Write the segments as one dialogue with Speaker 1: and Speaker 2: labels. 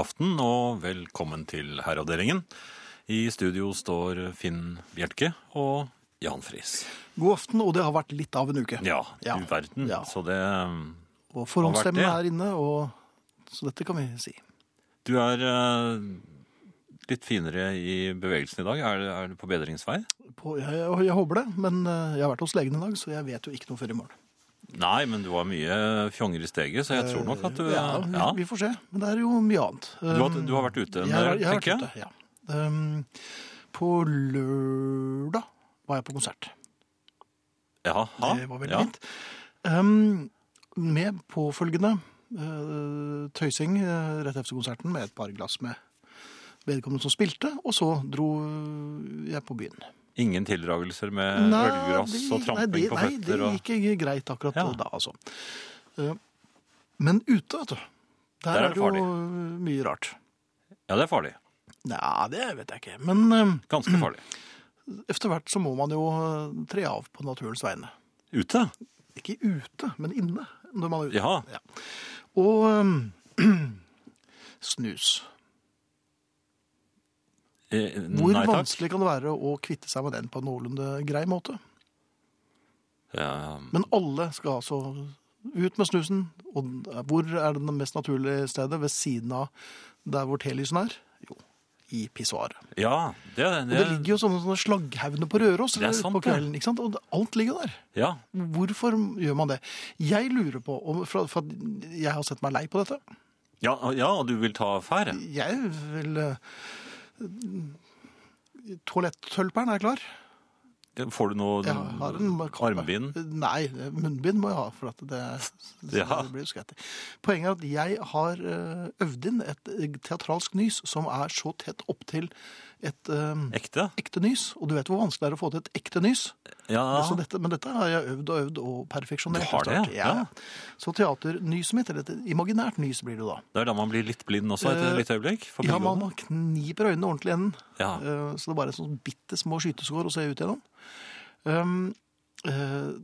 Speaker 1: aften og velkommen til Herreavdelingen. I studio står Finn Bjerke og Jan Friis.
Speaker 2: God aften, og det har vært litt av en uke.
Speaker 1: Ja,
Speaker 2: Ja.
Speaker 1: du verden.
Speaker 2: Ja.
Speaker 1: Så det
Speaker 2: Og forhåndsstemmen
Speaker 1: har vært
Speaker 2: er inne, og så dette kan vi si.
Speaker 1: Du er eh, litt finere i bevegelsen i dag. Er, det- er du på bedringsvei?
Speaker 2: På, jeg, jeg, jeg håper det, men eh, jeg har vært hos legen i dag, så jeg vet jo ikke noe før i morgen.
Speaker 1: Nei, men du var mye fjonger i steget, så jeg tror nok at du
Speaker 2: Eh, ja, vi,
Speaker 1: ja.
Speaker 2: vi får se. Men det er jo mye annet.
Speaker 1: Du, har, du har vært ute en
Speaker 2: jeg, har-
Speaker 1: del,
Speaker 2: jeg har vært
Speaker 1: tenker jeg.
Speaker 2: ute, ja. Um, på lørdag var jeg på konsert.
Speaker 1: Jaha.
Speaker 2: Det var veldig
Speaker 1: ja.
Speaker 2: fint. Um, med påfølgende eh, tøysing eh, rett etter konserten med et par glass med vedkommende som spilte, og så dro eh, jeg på byen.
Speaker 1: Ingen tildragelser med ølgrass
Speaker 2: det-
Speaker 1: Eh, og tramping
Speaker 2: nei, det,
Speaker 1: på
Speaker 2: Nei,
Speaker 1: føtter?
Speaker 2: det
Speaker 1: og...
Speaker 2: gikk ikke greit akkurat
Speaker 1: Ja.
Speaker 2: da, altså. Eh, Men ute, vet du, der,
Speaker 1: Der er
Speaker 2: er
Speaker 1: det
Speaker 2: det jo mye rart.
Speaker 1: Ja, det er farlig.
Speaker 2: Nei, det vet jeg ikke. Men eh,
Speaker 1: Ganske farlig.
Speaker 2: efter hvert så må man jo eh, tre av på naturens vegne.
Speaker 1: Ute?
Speaker 2: Ikke ute, men inne når man er ute.
Speaker 1: Ja.
Speaker 2: Og eh, snus.
Speaker 1: Eh,
Speaker 2: Hvor
Speaker 1: nei takk.
Speaker 2: vanskelig kan det være å kvitte seg med den på en noenlunde grei måte?
Speaker 1: Ja,
Speaker 2: Men alle skal altså ut med snusen. Og hvor er det mest naturlige stedet? Ved siden av der hvor telysen er? Jo, i pissoaret.
Speaker 1: ja det,
Speaker 2: Og
Speaker 1: det,
Speaker 2: det ligger jo sånne, sånne slagghaugene på Røros
Speaker 1: Det er sant,
Speaker 2: på kvelden. ikke sant? Og det- alt ligger der.
Speaker 1: ja.
Speaker 2: Hvorfor gjør man det? Jeg lurer på, om- for, for at jeg har sett meg lei på dette
Speaker 1: Ja, ja, og du vil ta affære?
Speaker 2: Jeg vil eh, Toalettølperen er klar.
Speaker 1: Får du noe
Speaker 2: Jeg har en kappe.
Speaker 1: Mm. armbind?
Speaker 2: Nei, munnbind må jeg ha, for at det,
Speaker 1: Ja.
Speaker 2: det blir jo skvettig. Poenget er at jeg har eh, øvd inn et eh, teatralsk nys som er så tett opptil et eh,
Speaker 1: Ekte?
Speaker 2: ekte nys. Og du vet hvor vanskelig det er å få til et ekte nys.
Speaker 1: Ja.
Speaker 2: Så dette, men dette har jeg øvd og øvd og perfeksjonert.
Speaker 1: Du har det,
Speaker 2: etter hvert.
Speaker 1: ja.
Speaker 2: ja. Så teaternyset mitt, eller et imaginært nys blir det jo da.
Speaker 1: Det er da man blir litt blind også, et
Speaker 2: Eh,
Speaker 1: lite øyeblikk? for
Speaker 2: Ja, man,
Speaker 1: bygående.
Speaker 2: man kniper øynene ordentlig i enden.
Speaker 1: Ja.
Speaker 2: Eh, Så det er bare sånn bitte små skyteskår å se ut gjennom. Um, eh,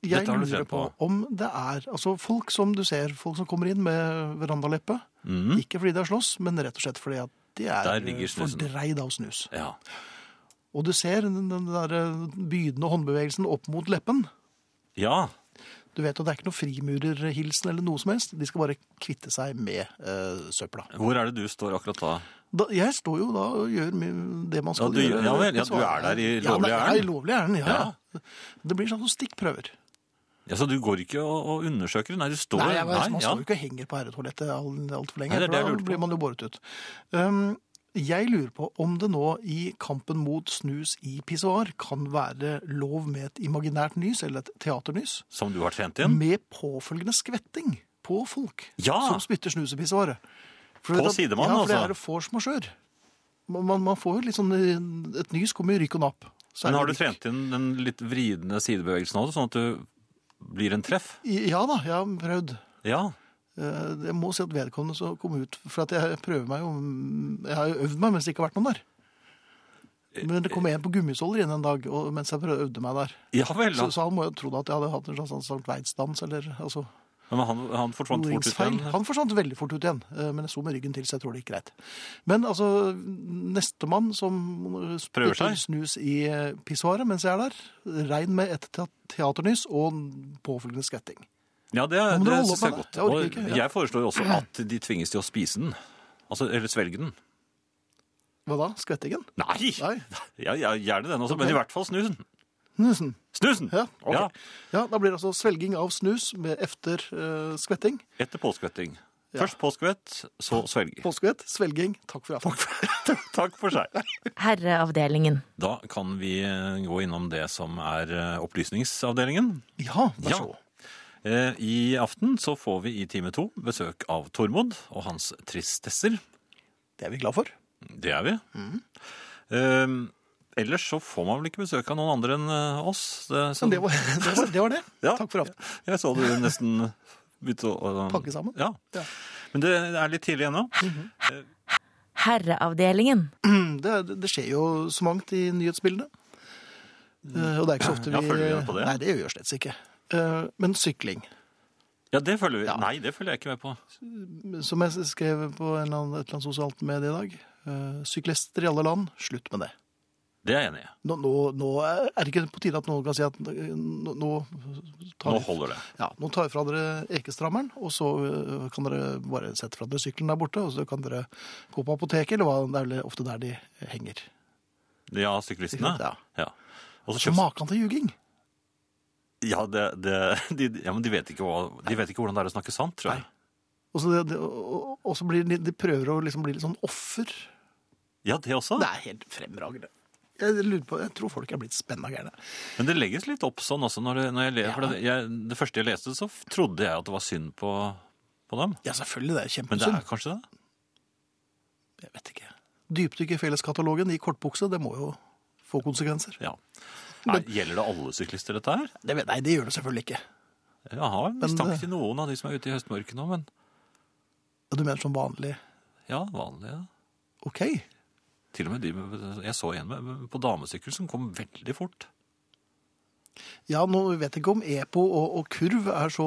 Speaker 2: jeg
Speaker 1: Dette har du
Speaker 2: lurer
Speaker 1: trent
Speaker 2: på
Speaker 1: på.
Speaker 2: om det er altså folk som du ser, folk som kommer inn med verandaleppe.
Speaker 1: Mhm.
Speaker 2: Ikke fordi de har slåss, men rett og slett fordi at de er
Speaker 1: Der ligger
Speaker 2: eh,
Speaker 1: snusen.
Speaker 2: fordreid av snus.
Speaker 1: ja.
Speaker 2: Og du ser den, den der eh, bydende håndbevegelsen opp mot leppen.
Speaker 1: ja.
Speaker 2: Du vet at Det er ikke noe frimurerhilsen eller noe som helst. De skal bare kvitte seg med eh, søpla.
Speaker 1: Hvor er det du står akkurat da?
Speaker 2: Da, jeg står jo da og gjør mi- det man
Speaker 1: Ja,
Speaker 2: skal
Speaker 1: du gjør-
Speaker 2: gjøre.
Speaker 1: ja vel, ja, du er der i lovlig
Speaker 2: ja,
Speaker 1: ærend.
Speaker 2: nei, Ja, i lovlig ærend, ja, ja. Det blir sånn stikkprøver.
Speaker 1: Ja, så Du går ikke og, og undersøker? Nei, du står
Speaker 2: Nei, jeg, vet, man
Speaker 1: ja.
Speaker 2: står jo ikke og henger på herretoalettet altfor alt for lenge,
Speaker 1: Nei, det er
Speaker 2: for
Speaker 1: det jeg
Speaker 2: da
Speaker 1: lurte på.
Speaker 2: blir man jo båret ut. Um, jeg lurer på om det nå i kampen mot snus i pissoar kan være lov med et imaginært nys, eller et teaternys,
Speaker 1: Som du har trent inn?
Speaker 2: med påfølgende skvetting på folk
Speaker 1: Ja.
Speaker 2: som spytter snus i pissoaret. For
Speaker 1: På
Speaker 2: du vet at-
Speaker 1: sidemannen,
Speaker 2: Ja, for det
Speaker 1: altså.
Speaker 2: er vors majeure. Man, man, man får jo litt sånn eh, Et nys kommer i rykk og napp. Så er
Speaker 1: Men
Speaker 2: det
Speaker 1: har du
Speaker 2: rykk.
Speaker 1: trent inn den litt vridende sidebevegelsen også, sånn at du blir en treff?
Speaker 2: I- Ja da, jeg har prøvd.
Speaker 1: Ja.
Speaker 2: Eh, Jeg må si at vedkommende som kom ut For at jeg prøver meg jo mm, Jeg har jo øvd meg mens det ikke har vært noen der.
Speaker 1: Eh,
Speaker 2: Men det kom en på gummisåler igjen en dag og, mens jeg prøvde, øvde meg der.
Speaker 1: Ja vel.
Speaker 2: Så,
Speaker 1: da.
Speaker 2: så han må jo tro at jeg hadde hatt en slags sånn Sankt Veitsdans eller altså
Speaker 1: Men han, han forsvant fort ut
Speaker 2: Roingsfeil.
Speaker 1: igjen.
Speaker 2: Han forsvant veldig fort ut igjen, eh, men jeg sto med ryggen til, så jeg tror det gikk greit. Men altså, nestemann som
Speaker 1: Prøver
Speaker 2: spytter
Speaker 1: seg.
Speaker 2: snus i eh, pissoaret mens jeg er der, regn med et te- teaternys og en påfølgende skvetting.
Speaker 1: Ja, det,
Speaker 2: må du
Speaker 1: det
Speaker 2: holde
Speaker 1: syns jeg er
Speaker 2: opp med
Speaker 1: godt.
Speaker 2: det. Jeg orker
Speaker 1: Og
Speaker 2: ikke, ja.
Speaker 1: jeg foreslår også at de tvinges til å spise den. Altså, eller svelge den.
Speaker 2: Hva da? Skvettingen?
Speaker 1: Nei!
Speaker 2: Nei.
Speaker 1: Ja, ja, gjerne den også,
Speaker 2: Ok.
Speaker 1: men i hvert fall snusen.
Speaker 2: Snusen.
Speaker 1: Snusen!
Speaker 2: Ja, ok.
Speaker 1: ja,
Speaker 2: Ja, da blir det altså svelging av snus med efter eh, skvetting.
Speaker 1: Etter påskvetting.
Speaker 2: Ja.
Speaker 1: Først påskvett, så svelge.
Speaker 2: Påskevett, svelging. Takk for i aften.
Speaker 1: Takk for seg.
Speaker 3: Herreavdelingen.
Speaker 1: Da kan vi eh, gå innom det som er eh, opplysningsavdelingen.
Speaker 2: Ja, vær så god.
Speaker 1: Eh, I aften så får vi i time to besøk av Tormod og hans tristesser.
Speaker 2: Det er vi glad for.
Speaker 1: Det er vi.
Speaker 2: Mm.
Speaker 1: Eh, ellers så får man vel ikke besøk av noen andre enn eh, oss. Det- så-
Speaker 2: Men det var det. Var, det, var det.
Speaker 1: Ja.
Speaker 2: Takk for aften.
Speaker 1: Jeg så du nesten begynte å eh,
Speaker 2: Pakke sammen.
Speaker 1: Ja.
Speaker 2: Ja.
Speaker 1: Men det er litt tidlig ennå.
Speaker 3: Herreavdelingen.
Speaker 2: Mm, Det, det skjer jo så mangt i nyhetsbildene. Eh, og det er ikke så ofte vi
Speaker 1: Ja, følger vi med på det?
Speaker 2: Nei, det gjør vi slett ikke. Eh, men sykling.
Speaker 1: Ja, det følger vi.
Speaker 2: Ja.
Speaker 1: Nei, det følger jeg ikke med på.
Speaker 2: Som jeg skrev på en eller annen, et eller annet sosialt medie i dag. eh, Syklister i alle land, slutt med det.
Speaker 1: Det er jeg enig i.
Speaker 2: Nå, nå, nå er er det ikke på tide at noen kan si at eh, nå, nå,
Speaker 1: Nå
Speaker 2: tar vi-
Speaker 1: holder det.
Speaker 2: ja, nå tar vi fra dere ekestrammeren, og så eh, kan dere bare sette fra dere sykkelen der borte, og så kan dere gå på apoteket, eller hva det er vel ofte der de henger.
Speaker 1: Ja, syklistene.
Speaker 2: Ja.
Speaker 1: Ja. Og så
Speaker 2: Så
Speaker 1: kjøps-
Speaker 2: maken til ljuging!
Speaker 1: ja, det, det, de, ja, men de vet, ikke hva, de vet ikke hvordan det er å snakke sant, tror jeg.
Speaker 2: Nei. Og så, det, det, og, og så blir de, de prøver å liksom bli litt sånn offer.
Speaker 1: Ja, det også.
Speaker 2: Det er helt fremragende. Jeg, lurer på, jeg tror folk er blitt spenna gærne.
Speaker 1: Men det legges litt opp sånn også. Når, det- når jeg, le- for det, jeg, det første jeg leste, så f- trodde jeg at det var synd på, på dem.
Speaker 2: Ja, selvfølgelig. Det er
Speaker 1: Men det
Speaker 2: kjempesynd.
Speaker 1: er kanskje det?
Speaker 2: Jeg vet ikke. Dypdykk i felleskatalogen i kortbukse, det må jo få konsekvenser.
Speaker 1: Ja. Nei, gjelder det alle syklister, dette her?
Speaker 2: Det vet, nei, det gjør det selvfølgelig ikke.
Speaker 1: Jeg har en mistanke
Speaker 2: det-
Speaker 1: til noen av de som er ute i høstmørket nå, men
Speaker 2: Ja, Du mener som vanlig
Speaker 1: ja, vanlige.
Speaker 2: OK?
Speaker 1: Til og med de med- jeg så en med, på damesykkel som kom veldig fort.
Speaker 2: Ja, nå vet jeg ikke om EPO og, og kurv er så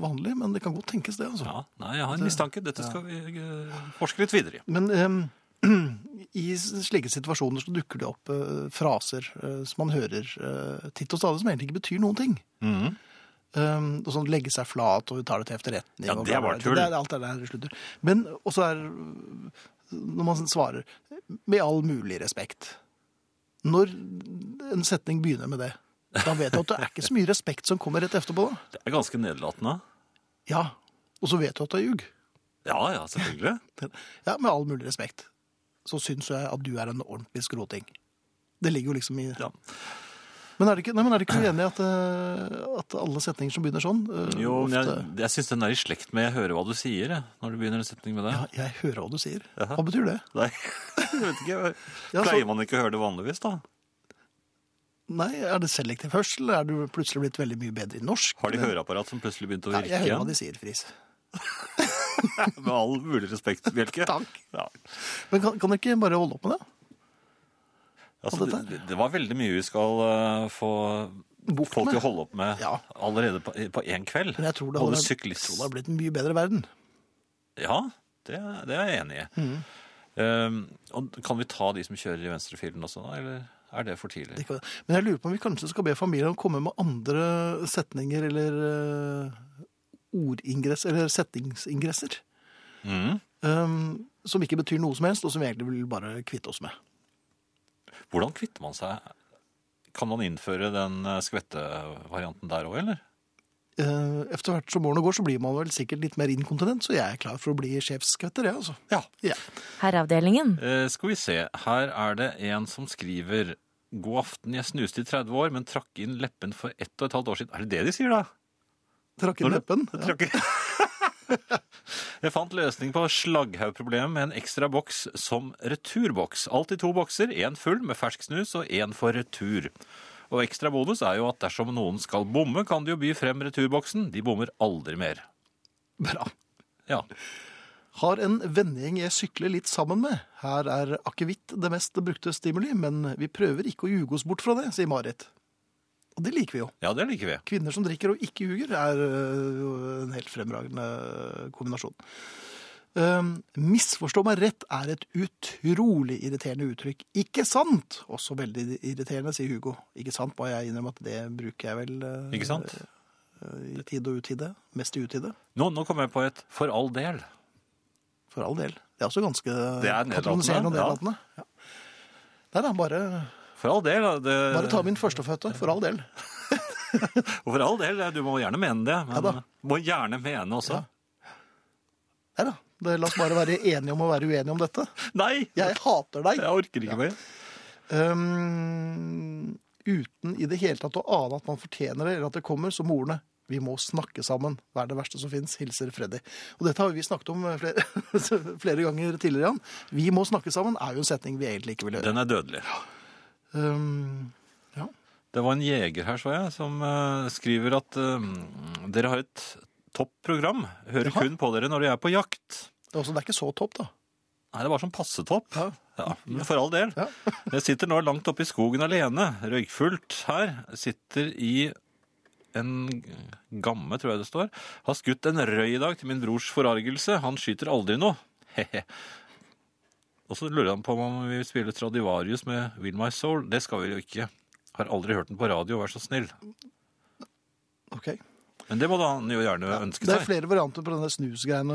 Speaker 2: vanlig, men det kan godt tenkes det, altså.
Speaker 1: Ja, nei, jeg har en mistanke. Dette skal vi eh, forske litt videre i.
Speaker 2: Men em, i slike situasjoner så dukker det opp eh, fraser eh, som man hører eh, titt og stadig, som egentlig ikke betyr noen ting.
Speaker 1: Mhm.
Speaker 2: Um, og sånn legge seg flat, og vi tar det til efterretning.
Speaker 1: Ja,
Speaker 2: og
Speaker 1: det
Speaker 2: bla, bla,
Speaker 1: var
Speaker 2: bla.
Speaker 1: tull.
Speaker 2: Det er alt det der slutter. Men også er Når man svarer med all mulig respekt Når en setning begynner med det, da vet du at det er ikke så mye respekt som kommer rett etterpå. da.
Speaker 1: Det er ganske nedlatende.
Speaker 2: Ja, Og så vet du at det er ljug.
Speaker 1: Ja, ja, selvfølgelig.
Speaker 2: Ja, med all mulig respekt. Så syns jeg at du er en ordentlig skroting. Det ligger jo liksom i
Speaker 1: Ja.
Speaker 2: Men er det ikke, nei, men er det ikke uenig i at, eh, at alle setninger som begynner sånn eh,
Speaker 1: Jo, men jeg,
Speaker 2: ofte-
Speaker 1: jeg syns den er i slekt med 'jeg hører hva du sier', jeg, når du begynner en setning med det.
Speaker 2: Ja, jeg hører hva du sier. Hva betyr det?
Speaker 1: Nei, jeg vet ikke.
Speaker 2: Ja, så-
Speaker 1: Pleier man ikke å høre det vanligvis, da?
Speaker 2: Nei, Er det selektiv hørsel? Er du plutselig blitt veldig mye bedre i norsk?
Speaker 1: Har de høreapparat som plutselig begynte å
Speaker 2: Nei,
Speaker 1: virke
Speaker 2: jeg hører hva
Speaker 1: igjen?
Speaker 2: de sier, Friis.
Speaker 1: Med all mulig respekt, Bjelke.
Speaker 2: Takk.
Speaker 1: Ja.
Speaker 2: Men kan, kan dere ikke bare holde opp med det?
Speaker 1: Altså,
Speaker 2: Og dette
Speaker 1: det, det var veldig mye vi skal eh, få
Speaker 2: Bukt
Speaker 1: folk til
Speaker 2: med.
Speaker 1: å holde opp med
Speaker 2: Ja.
Speaker 1: allerede på- på én kveld.
Speaker 2: Men jeg tror det
Speaker 1: Både
Speaker 2: hadde- Jeg
Speaker 1: syklist
Speaker 2: tror det har blitt en mye bedre verden.
Speaker 1: Ja, det, det er jeg enig i.
Speaker 2: Mm.
Speaker 1: Eh, og kan vi ta de som kjører i venstrefilen også, da? Eller er det for tidlig?
Speaker 2: Det kan- Men jeg lurer på om vi kanskje skal be familien om å komme med andre setninger eller eh, ordingress, eller setningsingresser.
Speaker 1: Mhm.
Speaker 2: Um, som ikke betyr noe som helst, og som vi egentlig vil bare kvitte oss med.
Speaker 1: Hvordan kvitter man seg? Kan man innføre den eh, skvettevarianten der òg, eller?
Speaker 2: Eh, Efter hvert som årene går, så blir man vel sikkert litt mer inkontinent, så jeg er klar for å bli sjefskvetter, jeg, altså.
Speaker 1: Ja.
Speaker 2: Ja.
Speaker 3: Herreavdelingen.
Speaker 1: Eh, skal vi se. Her er det en som skriver God aften, jeg snuste i 30 år, men trakk inn leppen for ett og et halvt år siden. Er det det de sier, da?
Speaker 2: Trakk inn
Speaker 1: Når
Speaker 2: leppen.
Speaker 1: Jeg trakk Jeg fant løsning på slagghaugproblemet med en ekstra boks som returboks. Alltid to bokser, én full med fersk snus og én for retur. Og ekstra bonus er jo at dersom noen skal bomme, kan de jo by frem returboksen. De bommer aldri mer.
Speaker 2: Bra.
Speaker 1: Ja.
Speaker 2: Har en vennegjeng jeg sykler litt sammen med. Her er akevitt det mest brukte stimuli, men vi prøver ikke å ljuge oss bort fra det, sier Marit. Og det liker vi jo.
Speaker 1: ja, det liker vi.
Speaker 2: Kvinner som drikker og ikke ljuger er øh, jo en helt fremragende kombinasjon. Ehm, misforstå meg rett er et utrolig irriterende uttrykk. Ikke sant? Også veldig irriterende, sier Hugo. Ikke sant, må jeg innrømme at det bruker jeg vel øh,
Speaker 1: Ikke sant?
Speaker 2: i tide og utide. Mest i utide.
Speaker 1: Nå, nå kom jeg på et for all del.
Speaker 2: For all del. Det er også ganske
Speaker 1: Det er nedlatende,
Speaker 2: patroniserende og
Speaker 1: ja.
Speaker 2: nedlatende. Ja. Nei da, bare,
Speaker 1: For all del. da, Det,
Speaker 2: bare ta min førstefødte, for all del.
Speaker 1: Og for all del, du må gjerne mene det. Men
Speaker 2: Ja da.
Speaker 1: må gjerne mene også.
Speaker 2: Nei da, det, la oss bare være enige om å være uenige om dette.
Speaker 1: Nei!
Speaker 2: Jeg hater deg.
Speaker 1: Jeg orker ikke mer.
Speaker 2: Um, uten i det hele tatt å ane at man fortjener det, eller at det kommer, som ordene. Vi må snakke sammen. Hva er det verste som fins? Hilser Freddy. Og dette har vi snakket om eh, flere, flere ganger tidligere, Jan. Vi må snakke sammen er jo en setning vi egentlig ikke vil høre.
Speaker 1: Den er dødelig.
Speaker 2: Um, ja.
Speaker 1: Det var en jeger her, så jeg, som eh, skriver at eh, dere har et topp program. Hører
Speaker 2: Jaha.
Speaker 1: kun på dere når jeg er på jakt.
Speaker 2: Det er også- altså, det er ikke så topp, da.
Speaker 1: Nei, det var sånn passetopp.
Speaker 2: Ja.
Speaker 1: men for all del.
Speaker 2: Ja.
Speaker 1: jeg sitter nå langt oppe i skogen alene, røykfullt her. Sitter i en gamme, tror jeg det står, har skutt en røy i dag til min brors forargelse. Han skyter aldri noe. Hehe. Og så lurer han på om vi vil spille Stradivarius med Will My Soul. Det skal vi jo ikke. Har aldri hørt den på radio, vær så snill.
Speaker 2: Ok.
Speaker 1: Men det må da han jo gjerne ønske
Speaker 2: Det er
Speaker 1: seg.
Speaker 2: flere varianter på denne snusgreiene.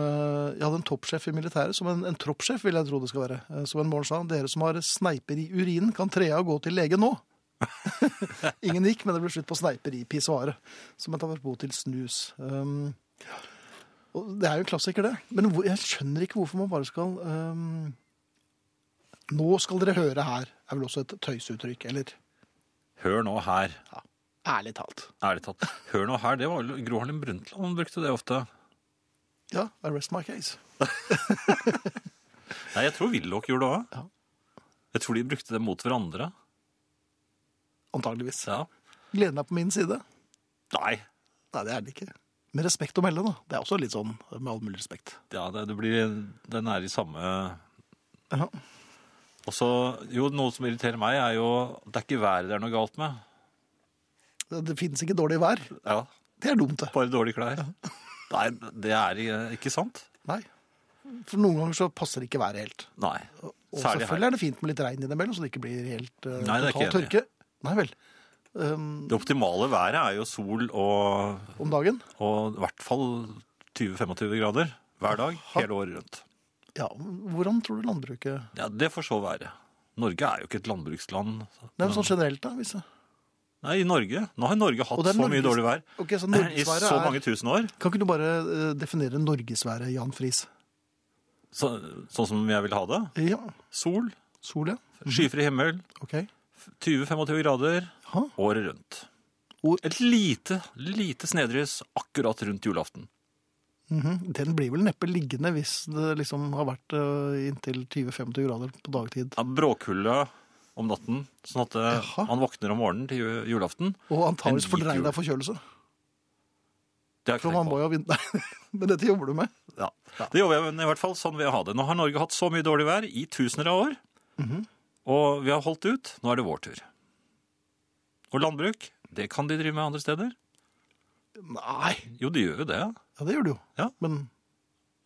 Speaker 2: Jeg hadde en toppsjef i militæret, som en, en troppsjef vil jeg tro det skal være, eh, som en morgen sa, dere som har sneiper i urinen kan tre av og gå til lege nå. Ingen gikk, men det ble slutt på sneiper i pissoaret, som et apropos til snus. Um, og det er jo en klassiker det, men hvor, jeg skjønner ikke hvorfor man bare skal... Um, nå skal dere høre her, er vel også et tøysuttrykk, eller
Speaker 1: Hør nå her,
Speaker 2: ærlig talt.
Speaker 1: ærlig talt. Hør nå her, det var vel Gro Harlem Brundtland, han brukte det ofte.
Speaker 2: Ja, I rest my case.
Speaker 1: Nei, jeg tror Willoch gjorde det òg.
Speaker 2: Ja.
Speaker 1: Jeg tror de brukte det mot hverandre.
Speaker 2: Antageligvis.
Speaker 1: Ja.
Speaker 2: Gleden er på min side.
Speaker 1: Nei,
Speaker 2: Nei, det er det ikke. Med respekt å melde, da. Det er også litt sånn med all mulig respekt.
Speaker 1: ja, det, det blir, den er i samme
Speaker 2: Ja.
Speaker 1: Og så, jo, noe som irriterer meg, er jo Det er ikke været det er noe galt med.
Speaker 2: Det, det finnes ikke dårlig vær.
Speaker 1: Ja,
Speaker 2: Det er dumt, det.
Speaker 1: Bare dårlige klær. Nei, det er i- ikke sant.
Speaker 2: Nei. For noen ganger så passer ikke været helt.
Speaker 1: Nei.
Speaker 2: Og
Speaker 1: Særlig her.
Speaker 2: selvfølgelig er det fint med litt regn innimellom, så det ikke blir helt uh,
Speaker 1: Nei, det er
Speaker 2: total
Speaker 1: ikke
Speaker 2: tørke. Nei vel. Um,
Speaker 1: Det optimale været er jo sol og,
Speaker 2: om dagen?
Speaker 1: og i hvert fall 20-25 grader hver dag hele året rundt.
Speaker 2: Ja. Hvordan tror du landbruket
Speaker 1: Ja, Det får så være. Norge er jo ikke et landbruksland.
Speaker 2: Nei, men sånn generelt, da. Hvis jeg...
Speaker 1: Nei, i Norge. Nå har Norge hatt
Speaker 2: Og det
Speaker 1: så
Speaker 2: er
Speaker 1: mye
Speaker 2: Norges-
Speaker 1: dårlig vær
Speaker 2: Ok, så
Speaker 1: i så
Speaker 2: norgesværet
Speaker 1: mange
Speaker 2: er
Speaker 1: tusen år.
Speaker 2: Kan ikke du bare eh, definere norgesværet, Jan Friis?
Speaker 1: Så, sånn som jeg vil ha det.
Speaker 2: Ja.
Speaker 1: Sol,
Speaker 2: Sol, ja.
Speaker 1: skyfri himmel,
Speaker 2: OK.
Speaker 1: 20-25 grader
Speaker 2: Ha?
Speaker 1: året rundt.
Speaker 2: Or-
Speaker 1: Et lite, lite snedrys akkurat rundt julaften.
Speaker 2: Mhm. Den blir vel neppe liggende hvis det liksom har vært eh, inntil 20-25 grader på dagtid.
Speaker 1: Ja, Bråkulda om natten, sånn at eh,
Speaker 2: Jaha.
Speaker 1: han våkner om morgenen til ju- julaften.
Speaker 2: Og
Speaker 1: En
Speaker 2: antakeligvis
Speaker 1: hvit
Speaker 2: fordreid
Speaker 1: jul.
Speaker 2: av forkjølelse.
Speaker 1: Det er ikke
Speaker 2: For man
Speaker 1: tenkt
Speaker 2: må
Speaker 1: på.
Speaker 2: jo vinne. Men dette jobber du med.
Speaker 1: Ja. Det jobber jeg med, men i hvert fall sånn vil jeg ha det. Nå har Norge hatt så mye dårlig vær i tusener av år,
Speaker 2: Mhm.
Speaker 1: og vi har holdt ut. Nå er det vår tur. Og landbruk, det kan de drive med andre steder.
Speaker 2: Nei,
Speaker 1: Jo, de gjør jo det.
Speaker 2: ja, det gjør du jo.
Speaker 1: Ja.
Speaker 2: Men,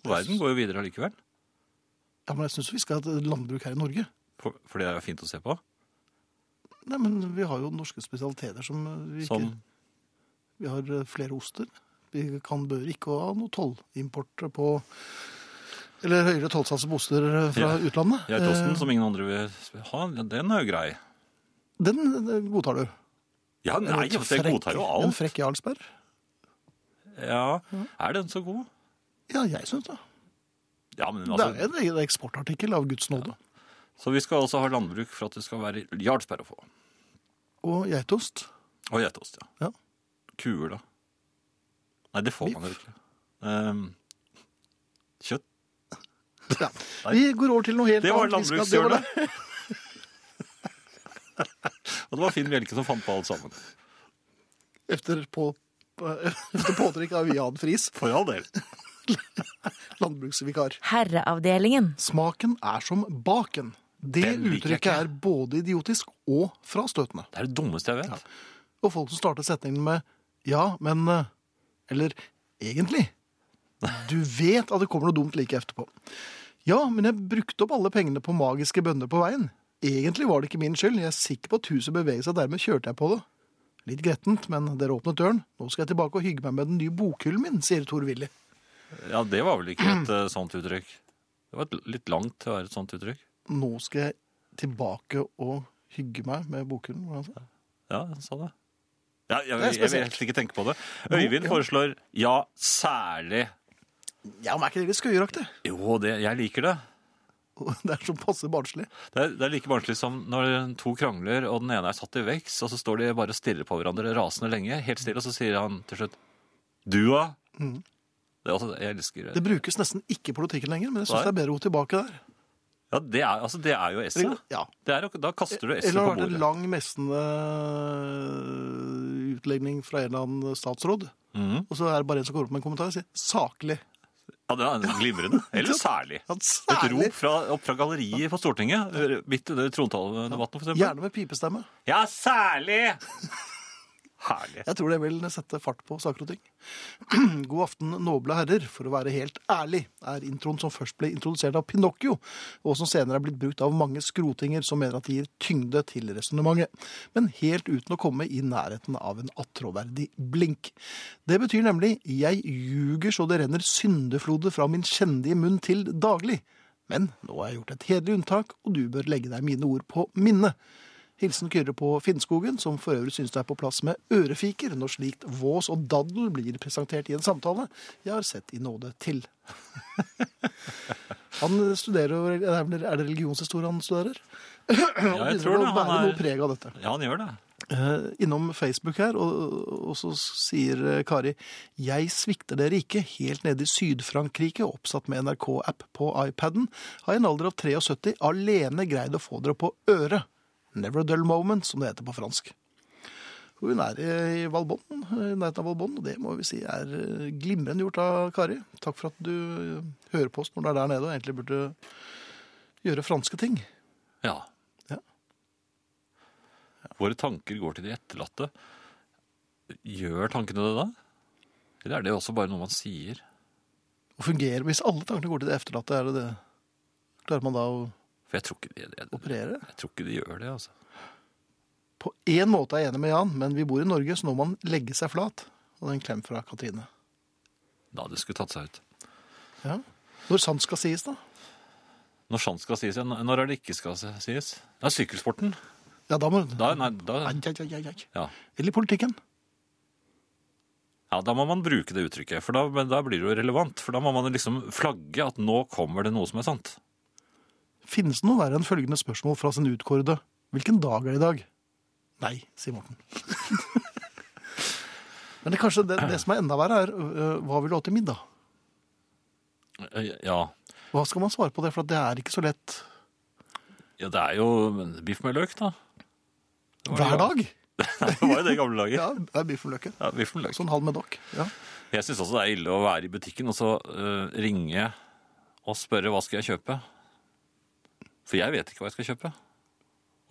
Speaker 1: Verden går jo videre allikevel.
Speaker 2: ja, men jeg syns vi skal ha et landbruk her i Norge.
Speaker 1: For, for det er jo fint å se på.
Speaker 2: Nei, men vi har jo norske spesialiteter som eh, vi ikke
Speaker 1: Som
Speaker 2: Vi har eh, flere oster. Vi kan bør ikke ha noe tollimport på Eller høyere tollsatser på oster eh, fra utlandet.
Speaker 1: geitosten,
Speaker 2: Eh,
Speaker 1: som ingen andre vil ha. Den er jo grei.
Speaker 2: Den eh, godtar du.
Speaker 1: Ja, nei,
Speaker 2: En
Speaker 1: jeg
Speaker 2: frekk-
Speaker 1: godtar jo
Speaker 2: En
Speaker 1: alt.
Speaker 2: frekk Jarlsberg.
Speaker 1: Ja. Er den så god?
Speaker 2: Ja, jeg syns det.
Speaker 1: Ja, men
Speaker 2: Det
Speaker 1: altså,
Speaker 2: er en egen eksportartikkel av Guds nåde.
Speaker 1: Så vi skal altså ha landbruk for at det skal være jarlsberg å få.
Speaker 2: Og geitost.
Speaker 1: Og geitost, ja.
Speaker 2: Ja.
Speaker 1: Kuer, da. Nei, det får man jo ikke. Ehm, kjøtt.
Speaker 2: Ja. Vi går over til noe helt
Speaker 1: Det var
Speaker 2: annet. Vi skal-
Speaker 1: landbrukshjørnet.
Speaker 2: det var det.
Speaker 1: Og det var Finn Bjelke som fant på alt sammen.
Speaker 2: Efter, på, efter påtrykk av Jan Friis,
Speaker 1: For all del.
Speaker 2: landbruksvikar.
Speaker 3: Herreavdelingen.
Speaker 2: Smaken er som baken. Det
Speaker 1: Den liker jeg
Speaker 2: uttrykket
Speaker 1: ikke.
Speaker 2: er både idiotisk og frastøtende.
Speaker 1: Det er det dummeste jeg vet.
Speaker 2: Og folk som starter setningen med ja, men eh, Eller egentlig. Du vet at det kommer noe dumt like etterpå. Ja, men jeg brukte opp alle pengene på magiske bønner på veien. Egentlig var det ikke min skyld. Jeg er sikker på at huset beveget seg, dermed kjørte jeg på det. Litt grettent, men dere åpnet døren. Nå skal jeg tilbake og hygge meg med den nye bokhyllen min, sier Tor-Willy.
Speaker 1: Ja, det var vel ikke et eh, sånt uttrykk. Det var et litt langt til å være et sånt uttrykk.
Speaker 2: Nå skal jeg tilbake og hygge meg med bokhyllen. hvordan sa han?
Speaker 1: Ja, han sa det. Ja, jeg,
Speaker 2: Det er
Speaker 1: jeg, jeg vil
Speaker 2: spesielt.
Speaker 1: helst ikke tenke på det.
Speaker 2: Jo,
Speaker 1: Øyvind
Speaker 2: ja.
Speaker 1: foreslår ja, særlig.
Speaker 2: Ja, men er ikke det litt skøyeraktig?
Speaker 1: Jo, det, jeg liker det.
Speaker 2: Det er så passe barnslig.
Speaker 1: Det er, det er like barnslig som når to krangler, og den ene er satt i veks, og så står de bare og stirrer på hverandre rasende lenge, helt stille, og så sier han til slutt Du, da? Det er altså, jeg elsker
Speaker 2: Mm. Det brukes nesten ikke i politikken lenger, men jeg syns
Speaker 1: Nei.
Speaker 2: det er bedre å gå tilbake der.
Speaker 1: Ja, det er, altså, det er jo esset.
Speaker 2: Ja.
Speaker 1: Det er jo- Da kaster du esset
Speaker 2: Eller det
Speaker 1: på
Speaker 2: har vært en
Speaker 1: bordet.
Speaker 2: lang messende eh, utlegning fra en eller annen statsråd.
Speaker 1: Mhm.
Speaker 2: Og så er det bare en som kommer opp med en kommentar og sier 'saklig'.
Speaker 1: Ja, det er sånn glimrende. Eller særlig.
Speaker 2: Ja,
Speaker 1: Et
Speaker 2: særlig.
Speaker 1: rop fra, opp fra galleriet på Stortinget, midt under trontaledebatten, for eksempel.
Speaker 2: Gjerne med pipestemme.
Speaker 1: Ja, særlig! Herlig.
Speaker 2: Jeg tror det vil sette fart på saker og ting. God aften, noble herrer. For å være helt ærlig er introen som først ble introdusert av Pinocchio, og som senere er blitt brukt av mange skrotinger som mener at de gir tyngde til resonnementet, men helt uten å komme i nærheten av en attråverdig blink. Det betyr nemlig 'jeg ljuger så det renner syndeflode fra min kjendige munn til daglig'. Men nå har jeg gjort et hederlig unntak, og du bør legge deg mine ord på minnet. Hilsen Kyrre på Finnskogen, som for øvrig synes det er på plass med ørefiker når slikt vås og daddel blir presentert i en samtale jeg har sett i nåde til. Han studerer jo- Er det er det religionshistorie han studerer?
Speaker 1: Ja, jeg
Speaker 2: Begynner
Speaker 1: tror
Speaker 2: å
Speaker 1: det.
Speaker 2: bære
Speaker 1: Han
Speaker 2: noe
Speaker 1: er,
Speaker 2: preg av dette.
Speaker 1: ja, han gjør det.
Speaker 2: Eh, innom Facebook her, og, og så sier eh, Kari Jeg svikter dere ikke. Helt nede i Syd-Frankrike, oppsatt med NRK-app på iPaden, har i en alder av 73 alene greid å få dere på øret. Never a dull moment, som det heter på fransk. Hun er eh, i Valbonn, eh, i nærheten av Valbonn, og det må vi si er eh, glimrende gjort av Kari. Takk for at du eh, hører på oss når du er der nede og egentlig burde gjøre franske ting.
Speaker 1: Ja.
Speaker 2: Ja.
Speaker 1: Våre tanker går til de etterlatte. Gjør tankene det da? Eller er det også bare noe man sier?
Speaker 2: Og fungerer, Hvis alle tankene går til det efterlatte, er det det? Klarer man da å
Speaker 1: For jeg tror ikke, jeg, jeg,
Speaker 2: operere?
Speaker 1: jeg tror ikke de gjør det, altså.
Speaker 2: På én måte er jeg enig med Jan, men vi bor i Norge, så nå må man legge seg flat. Og det er en klem fra Katrine.
Speaker 1: Da det skulle tatt seg ut.
Speaker 2: Ja. Når sant skal sies, da?
Speaker 1: Når sant skal sies, ja. Når er det ikke skal sies? Ja, sykkelsporten.
Speaker 2: Ja, da må
Speaker 1: Da, nei, da,
Speaker 2: Ai, ai, ai, ai, ai.
Speaker 1: ja.
Speaker 2: Eller i politikken.
Speaker 1: ja, da må man bruke det uttrykket, for da, men da blir det jo relevant. For da må man liksom flagge at nå kommer det noe som er sant.
Speaker 2: Finnes det noe verre enn følgende spørsmål fra sin utkårede? Hvilken dag er det i dag? Nei, sier Morten. Men det, kanskje det, det som er enda verre, er øh, hva vil du ha til middag?
Speaker 1: Eh, Ja,
Speaker 2: Hva skal man svare på det, for at det er ikke så lett
Speaker 1: ja det er jo men biff med løk, da. Det var
Speaker 2: hver
Speaker 1: det
Speaker 2: dag.
Speaker 1: gamle- Det var jo det i gamle dager.
Speaker 2: Ja, det er biff og løke.
Speaker 1: Ja, biff med løk.
Speaker 2: Så en Sånn halv med dokk. Ja.
Speaker 1: Jeg syns også det er ille å være i butikken og så eh, ringe og spørre hva skal jeg kjøpe. For jeg vet ikke hva jeg skal kjøpe.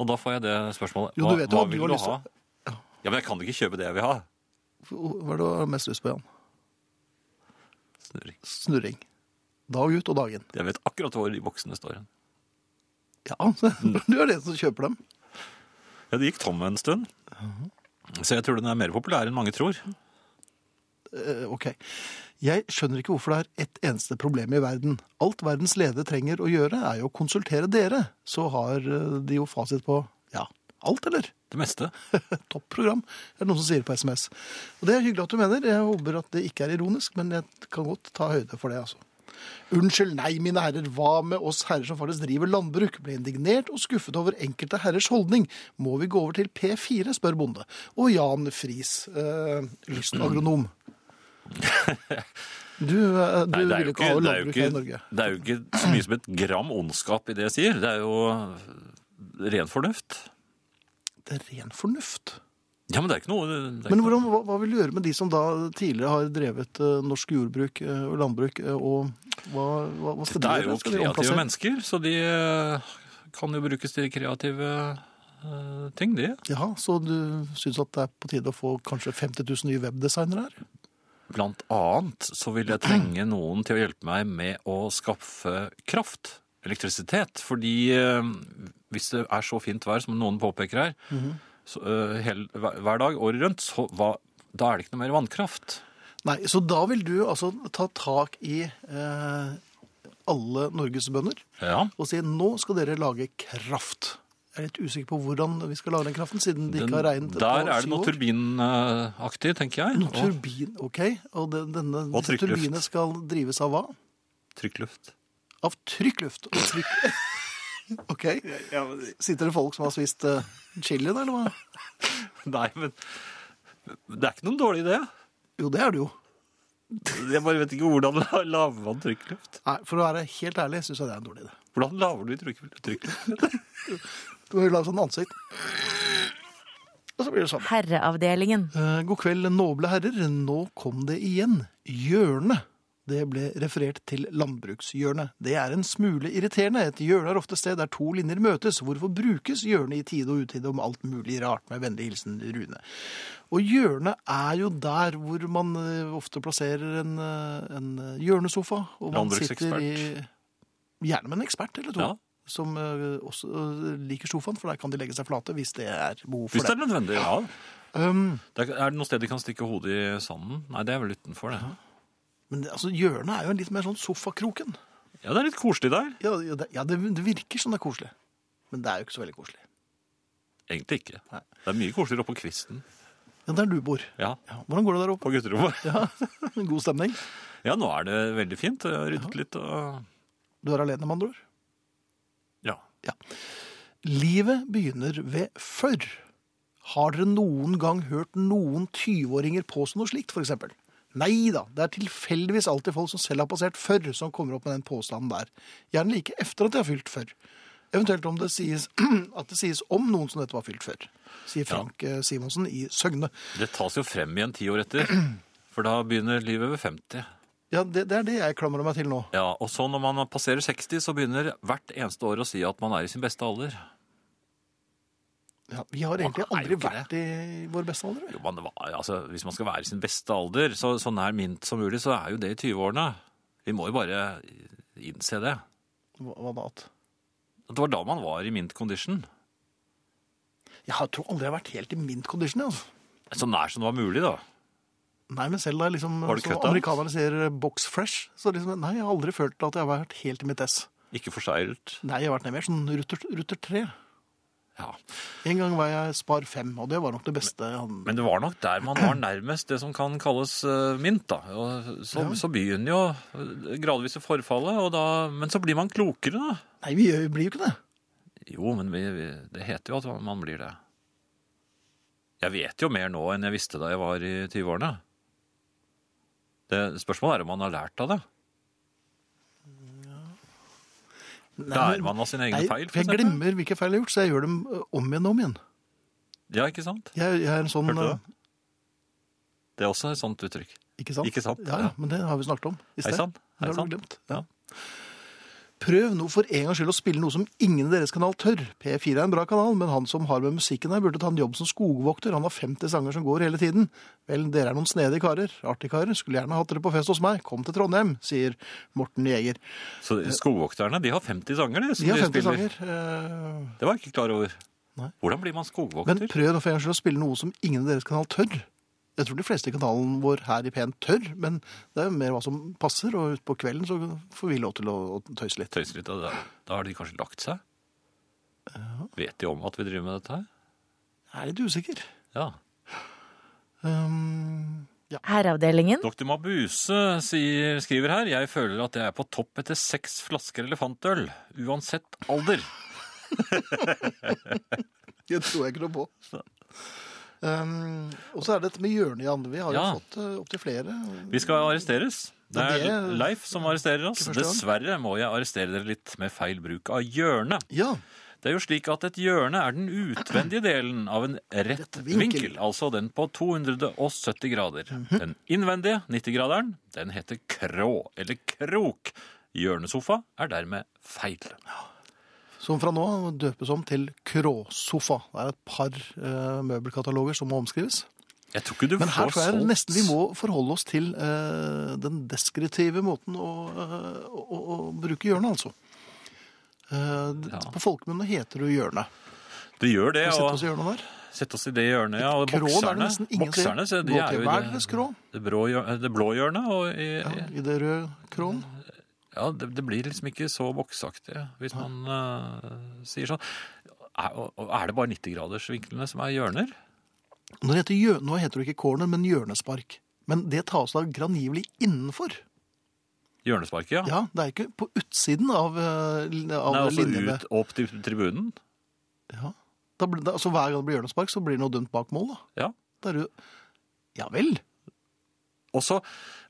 Speaker 1: Og da får jeg det spørsmålet.
Speaker 2: Jo, du vet jo
Speaker 1: hva
Speaker 2: hva du
Speaker 1: vil
Speaker 2: har
Speaker 1: du
Speaker 2: lyst til
Speaker 1: ha?
Speaker 2: å-
Speaker 1: Ja, men jeg kan ikke kjøpe det jeg vil ha.
Speaker 2: Hva er det du har mest lyst på, Jan?
Speaker 1: Snurring.
Speaker 2: Snurring. Dag ut og dag inn.
Speaker 1: Jeg vet akkurat hvor de boksene står hen.
Speaker 2: Ja, så
Speaker 1: Mm.
Speaker 2: du er den som kjøper dem.
Speaker 1: Ja, det gikk tom en stund.
Speaker 2: Mhm.
Speaker 1: Så jeg tror den er mer populær enn mange tror.
Speaker 2: Eh, ok. Jeg skjønner ikke hvorfor det er ett eneste problem i verden. Alt verdens ledere trenger å gjøre, er jo å konsultere dere. Så har eh, de jo fasit på ja, alt, eller?
Speaker 1: Det meste.
Speaker 2: Topp program, er det noen som sier på SMS. Og det er hyggelig at du mener. Jeg håper at det ikke er ironisk, men jeg kan godt ta høyde for det, altså. Unnskyld, nei, mine herrer, hva med oss herrer som faktisk driver landbruk? Ble indignert og skuffet over enkelte herrers holdning. Må vi gå over til P4, spør Bonde. Og Jan Friis, eh, lystagronom. Du, eh, du
Speaker 1: Nei, det er
Speaker 2: vil
Speaker 1: jo ikke, det
Speaker 2: ikke ha
Speaker 1: er jo
Speaker 2: landbruk her i Norge.
Speaker 1: ikke, det er jo ikke så mye som et gram ondskap i det jeg sier. Det er jo ren fornuft.
Speaker 2: Det er ren fornuft.
Speaker 1: Ja, men det er ikke noe det er
Speaker 2: Men
Speaker 1: ikke
Speaker 2: hvordan, hva, hva vil du gjøre med de som da tidligere har drevet eh, norsk jordbruk eh, og landbruk, eh, og hva, hva, hva skal de
Speaker 1: Det er
Speaker 2: gjøre?
Speaker 1: jo
Speaker 2: Skal de
Speaker 1: kreative
Speaker 2: omplassere?
Speaker 1: mennesker, så de eh, kan jo brukes til kreative eh, ting, de.
Speaker 2: Jaha, så du syns at det er på tide å få kanskje 50 000 nye webdesignere her?
Speaker 1: Blant annet så vil jeg trenge noen til å hjelpe meg med å skaffe kraft, elektrisitet. Fordi eh, hvis det er så fint vær som noen påpeker her, så, eh, hel, hver, hver dag året rundt, så hva, da er det ikke noe mer vannkraft.
Speaker 2: Nei, så da vil du altså ta tak i eh, alle Norges bønder
Speaker 1: Ja,
Speaker 2: og si nå skal dere lage kraft. Jeg er litt usikker på hvordan vi skal lage den kraften, siden de
Speaker 1: den,
Speaker 2: ikke har regnet et
Speaker 1: der
Speaker 2: par-
Speaker 1: er det
Speaker 2: syv
Speaker 1: noe
Speaker 2: år.
Speaker 1: turbinaktig, tenker jeg.
Speaker 2: Noe
Speaker 1: og
Speaker 2: turbin, ok. Og den, denne
Speaker 1: Og
Speaker 2: disse
Speaker 1: trykkluft.
Speaker 2: turbinene skal drives av hva?
Speaker 1: trykkluft.
Speaker 2: Av trykkluft. Og trykk... ok. Sitter det folk som har spist eh, chili da, eller hva?
Speaker 1: Nei, men det er ikke noen dårlig idé.
Speaker 2: Jo, det er det jo.
Speaker 1: Jeg bare vet ikke hvordan la- lager man trykkluft.
Speaker 2: Nei, for å være helt ærlig syns jeg det er en dårlig idé.
Speaker 1: Hvordan lager du trykkluft? trykkluft?
Speaker 2: Du må jo lage sånn ansikt. Og så blir det sånn.
Speaker 3: Herreavdelingen.
Speaker 2: Eh, God kveld, noble herrer. Nå kom det igjen. Hjørnet. Det ble referert til landbrukshjørnet. Det er en smule irriterende. Et hjørne er ofte sted der to linjer møtes. Hvorfor brukes hjørnet i tide og utide om alt mulig rart? Med vennlig hilsen Rune. Og hjørnet er jo der hvor man eh, ofte plasserer en, eh, en hjørnesofa. Og man sitter i
Speaker 1: Landbruksekspert.
Speaker 2: Gjerne med en ekspert eller to.
Speaker 1: Ja.
Speaker 2: Som eh, også eh, liker sofaen, for der kan de legge seg flate hvis det er behov
Speaker 1: Hvis det
Speaker 2: for det.
Speaker 1: er nødvendig, ja.
Speaker 2: Um,
Speaker 1: Det Er er det noe sted de kan stikke hodet i sanden? Nei, det er vel utenfor, det.
Speaker 2: men det- altså, hjørnet er jo en litt mer sånn sofakroken.
Speaker 1: Ja, det er litt koselig der.
Speaker 2: Ja, ja, det, ja det, det virker som det er koselig. Men det er jo ikke så veldig koselig.
Speaker 1: Egentlig ikke.
Speaker 2: Nei.
Speaker 1: Det er mye koseligere oppå kvisten.
Speaker 2: Ja, der du bor.
Speaker 1: Ja,
Speaker 2: Ja, hvordan går det der oppe?
Speaker 1: på gutterommet.
Speaker 2: Ja, God stemning.
Speaker 1: Ja, nå er det veldig fint. Jeg har ryddet litt og
Speaker 2: Du er alene, med andre ord.
Speaker 1: Ja.
Speaker 2: Livet begynner ved før. Har dere noen gang hørt noen 20-åringer påstå noe slikt, f.eks.? Nei da, det er tilfeldigvis alltid folk som selv har passert før, som kommer opp med den påstanden der. Gjerne like efter at de har fylt før. Eventuelt om det sies, at det sies om noen som nettopp har fylt før, sier Frank eh, Simonsen i Søgne.
Speaker 1: Det tas jo frem igjen ti år etter. For da begynner livet ved 50.
Speaker 2: Ja, det, det er det jeg klamrer meg til nå.
Speaker 1: Ja, Og så når man passerer 60, så begynner hvert eneste år å si at man er i sin beste alder.
Speaker 2: Ja, vi har
Speaker 1: Man
Speaker 2: egentlig
Speaker 1: er jo
Speaker 2: aldri
Speaker 1: ikke
Speaker 2: vært i vår beste alder. vi.
Speaker 1: Jo, man, var- altså, Hvis man skal være i sin beste alder, så, så nær mint som mulig, så er jo det i 20-årene. Vi må jo bare innse det.
Speaker 2: Hva, hva da? at-
Speaker 1: At Det var da man var i mint condition.
Speaker 2: Jeg har- tror aldri jeg har vært helt i mint condition. jeg, Altså.
Speaker 1: Så nær som det var mulig, da.
Speaker 2: Nei, men selv da jeg liksom,
Speaker 1: Var det
Speaker 2: som
Speaker 1: køtt, da?
Speaker 2: amerikanerne sier eh, box fresh, så liksom, nei, jeg har aldri følt at jeg har vært helt i mitt ess.
Speaker 1: Ikke forseglet.
Speaker 2: Nei, jeg har vært ned mer sånn rutter, rutter tre.
Speaker 1: Ja.
Speaker 2: En gang var jeg spar fem, og det var nok det beste. Han...
Speaker 1: Men det var nok der man var nærmest det som kan kalles eh, mint, da. Og så, så begynner jo eh, gradvis å forfalle, og da, men så blir man klokere, da.
Speaker 2: Nei, vi gjør- blir jo ikke det.
Speaker 1: Jo, men vi, vi, det heter jo at man blir det. Jeg vet jo mer nå enn jeg visste da jeg var i 20-årene. Det- Spørsmålet er om man har lært av det.
Speaker 2: Nei,
Speaker 1: Lærer
Speaker 2: men-
Speaker 1: man av sine egne
Speaker 2: Nei,
Speaker 1: feil,
Speaker 2: for jeg glemmer hvilke feil jeg har gjort, så jeg gjør dem eh, om igjen og om igjen.
Speaker 1: Ja, ikke sant?
Speaker 2: Jeg, jeg er en sånn...
Speaker 1: Hørte du
Speaker 2: eh,
Speaker 1: det? Det er også et sånt uttrykk.
Speaker 2: Ikke sant?
Speaker 1: Ikke sant,
Speaker 2: Ja, ja,
Speaker 1: ja.
Speaker 2: men det har vi snakket om. i sted.
Speaker 1: Hei sann,
Speaker 2: Det
Speaker 1: hei
Speaker 2: har du
Speaker 1: sann.
Speaker 2: glemt.
Speaker 1: Ja.
Speaker 2: Prøv nå for en gangs skyld å spille noe som ingen i deres kanal tør. P4 er en bra kanal, men han som har med musikken her, burde ta en jobb som skogvokter. Han har 50 sanger som går hele tiden. Vel, dere er noen snedige karer. Artige karer. Skulle gjerne hatt dere på fest hos meg. Kom til Trondheim, sier Morten Jeger.
Speaker 1: Så skogvokterne de har 50 sanger, de. som
Speaker 2: De har
Speaker 1: de
Speaker 2: 50
Speaker 1: spiller.
Speaker 2: sanger. eh,
Speaker 1: Det var jeg ikke klar over.
Speaker 2: Nei.
Speaker 1: Hvordan blir man
Speaker 2: Men
Speaker 1: skogvokter?
Speaker 2: prøv nå for en gangs skyld å spille noe som ingen i deres kanal tør. Jeg tror de fleste i kanalen vår her i P1 tør, men det er jo mer hva som passer, og utpå kvelden så får vi lov til å, å tøyse litt.
Speaker 1: tøyser litt av det. Da har de kanskje lagt seg? Vet de om at vi driver med dette her?
Speaker 2: Jeg er litt usikker.
Speaker 1: Ja. Ehm,
Speaker 2: Um, ja.
Speaker 3: Herreavdelingen.
Speaker 1: Dr. Mabuse sier, skriver her Jeg føler at jeg er på topp etter seks flasker elefantøl, uansett alder.
Speaker 2: Det tror jeg ikke noe på. Um, og så er det dette med hjørnet, Jan. Vi har jo
Speaker 1: Ja.
Speaker 2: fått uh, opptil flere.
Speaker 1: Vi skal arresteres. Det
Speaker 2: Ja, det
Speaker 1: er
Speaker 2: er-
Speaker 1: Leif som arresterer oss.
Speaker 2: Ikke første gang.
Speaker 1: Dessverre må jeg arrestere dere litt med feil bruk av hjørne.
Speaker 2: Ja,
Speaker 1: Det er jo slik at et hjørne er den utvendige delen av en rett
Speaker 2: Rett vinkel. Mhm.
Speaker 1: vinkel, altså den på 270 grader. Den innvendige 90-graderen, den heter krå, eller krok. Hjørnesofa er dermed feil.
Speaker 2: Som fra nå av døpes om til Kråsofa. Det er et par uh, møbelkataloger som må omskrives.
Speaker 1: Jeg tror ikke du
Speaker 2: Men her
Speaker 1: får
Speaker 2: tror jeg
Speaker 1: solgt-
Speaker 2: nesten vi må forholde oss til eh, den deskritive måten å, eh, å, å, å bruke hjørnet, altså. Eh, d-
Speaker 1: Ja.
Speaker 2: På folkemunne heter det hjørnet.
Speaker 1: Det gjør det,
Speaker 2: Skal vi sette
Speaker 1: og
Speaker 2: oss i hjørnet der?
Speaker 1: sett oss i det hjørnet. Ja, og
Speaker 2: Krå, det er det nesten
Speaker 1: bokserne,
Speaker 2: ingen som
Speaker 1: bokserne så de
Speaker 2: Gå
Speaker 1: er
Speaker 2: til.
Speaker 1: jo i
Speaker 2: Hva er
Speaker 1: det,
Speaker 2: deres krå?
Speaker 1: det, brå hjørne, det blå hjørnet, og i,
Speaker 2: Ja,
Speaker 1: ja.
Speaker 2: I det røde kråen?
Speaker 1: det, det blir liksom ikke så boksaktig hvis man eh, sier sånn. Er, og- og er det bare 90-gradersvinklene som er hjørner?
Speaker 2: Nå heter, hjø- nå heter det ikke corner, men hjørnespark. Men det tas da grangivelig innenfor.
Speaker 1: Hjørnesparket, ja.
Speaker 2: Ja, Det er ikke på utsiden av, eh, l- av
Speaker 1: Nei, altså
Speaker 2: linjene.
Speaker 1: ut opp til tribunen.
Speaker 2: Ja. Da, blir- da, altså, hver gang det blir hjørnespark, så blir det noe dømt bak mål, da.
Speaker 1: Ja.
Speaker 2: Da er det jo Ja vel.
Speaker 1: Og så,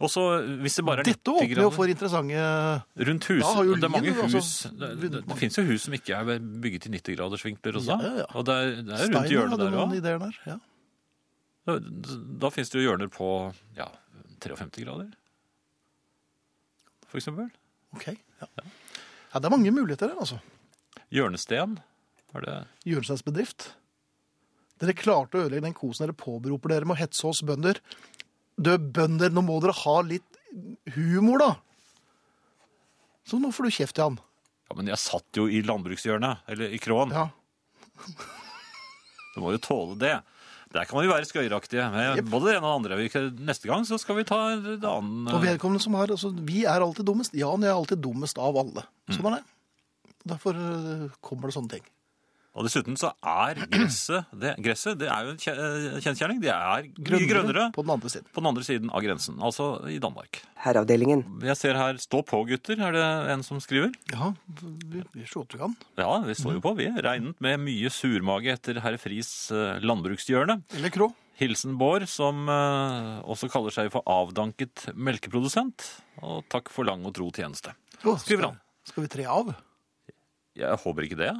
Speaker 1: og så, hvis det bare er
Speaker 2: Dette
Speaker 1: 90
Speaker 2: åpner jo
Speaker 1: grader
Speaker 2: for interessante
Speaker 1: rundt
Speaker 2: Da
Speaker 1: huset
Speaker 2: har jo
Speaker 1: Det er mange
Speaker 2: Lien,
Speaker 1: hus
Speaker 2: altså,
Speaker 1: det, det, det finnes jo hus som ikke er bygget i 90-gradersvinkler også.
Speaker 2: Ja, ja.
Speaker 1: Og det er, det er rundt
Speaker 2: Steiner
Speaker 1: hjørnet
Speaker 2: hadde
Speaker 1: der
Speaker 2: noen
Speaker 1: òg.
Speaker 2: ideer der. Ja.
Speaker 1: Da, da finnes det jo hjørner på ja, 53 grader. for eksempel.
Speaker 2: Ok. Ja. ja, det er mange muligheter her, altså.
Speaker 1: Hjørnesten. Er det
Speaker 2: Hjørnesteins bedrift. Dere klarte å ødelegge den kosen dere påberoper dere med å hetse oss bønder. Dø bønder, nå må dere ha litt humor, da! Så nå får du kjeft, Jan.
Speaker 1: Ja, men jeg satt jo i landbrukshjørnet, eller i kråen.
Speaker 2: Ja.
Speaker 1: Du må jo tåle det. Der kan vi være skøyeraktige. med
Speaker 2: Jep.
Speaker 1: Både det ene og det andre. Vi- Neste gang så skal vi ta en en annen
Speaker 2: Og
Speaker 1: eh,
Speaker 2: vedkommende som har altså, Vi er alltid dummest. Jan er alltid dummest av alle.
Speaker 1: Mm.
Speaker 2: Sånn er det. Derfor eh, kommer det sånne ting.
Speaker 1: eh, Og dessuten så er gresset det, Gresset det er jo en kje- eh, kjensgjerning. Det er mye grønnere
Speaker 2: På den andre siden.
Speaker 1: på den andre siden av grensen, altså i Danmark.
Speaker 3: Herreavdelingen.
Speaker 1: Jeg ser her 'Stå på, gutter', er det en som skriver.
Speaker 2: Ja, vi, vi slår til kan.
Speaker 1: Ja, vi står jo på, vi. Regnet med mye surmage etter herr Friis eh, landbrukshjørne.
Speaker 2: Eller Krå.
Speaker 1: Hilsen Bård, som eh, også kaller seg for avdanket melkeprodusent. Og takk for lang og tro tjeneste.
Speaker 2: Å,
Speaker 1: Skriver han.
Speaker 2: Skal, skal vi tre av?
Speaker 1: Jeg håper ikke det.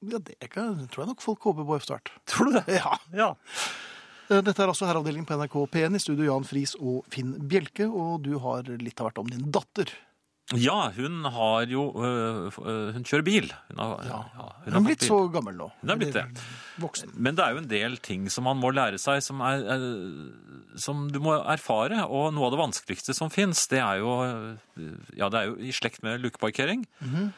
Speaker 2: Ja, det kan, tror jeg nok folk håper på etter hvert.
Speaker 1: Tror du det?
Speaker 2: Ja.
Speaker 1: Ja.
Speaker 2: Eh, Dette er altså herreavdelingen på NRK P1 i studio Jan Friis og Finn Bjelke, og du har litt av hvert om din datter.
Speaker 1: ja, hun har jo øh, f- øh, Hun kjører bil. Hun har, ja.
Speaker 2: Hun er
Speaker 1: har
Speaker 2: blitt
Speaker 1: fått
Speaker 2: så
Speaker 1: bil.
Speaker 2: gammel nå.
Speaker 1: Hun er blitt
Speaker 2: Eller
Speaker 1: det.
Speaker 2: Voksen.
Speaker 1: Men det er jo en del ting som man må lære seg, som, er, øh, som du må erfare. Og noe av det vanskeligste som fins, det er jo øh, Ja, det er jo i slekt med lukeparkering.
Speaker 2: Mhm.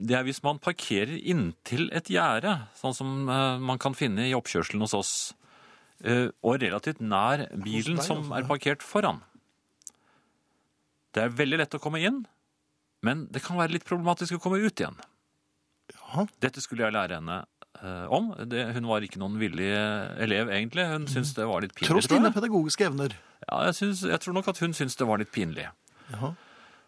Speaker 1: Det er hvis man parkerer inntil et gjerde, sånn som øh, man kan finne i oppkjørselen hos oss. øh, og relativt nær bilen
Speaker 2: deg,
Speaker 1: som
Speaker 2: altså,
Speaker 1: er
Speaker 2: ja.
Speaker 1: parkert foran. Det er veldig lett å komme inn, men det kan være litt problematisk å komme ut igjen.
Speaker 2: Jaha.
Speaker 1: Dette skulle jeg lære henne eh, om. Det, hun var ikke noen villig eh, elev, egentlig. Hun syntes det var litt pinlig.
Speaker 2: Tross dine
Speaker 1: jeg.
Speaker 2: pedagogiske evner.
Speaker 1: Ja, jeg, synes, jeg tror nok at hun syntes det var litt pinlig.
Speaker 2: Jaha.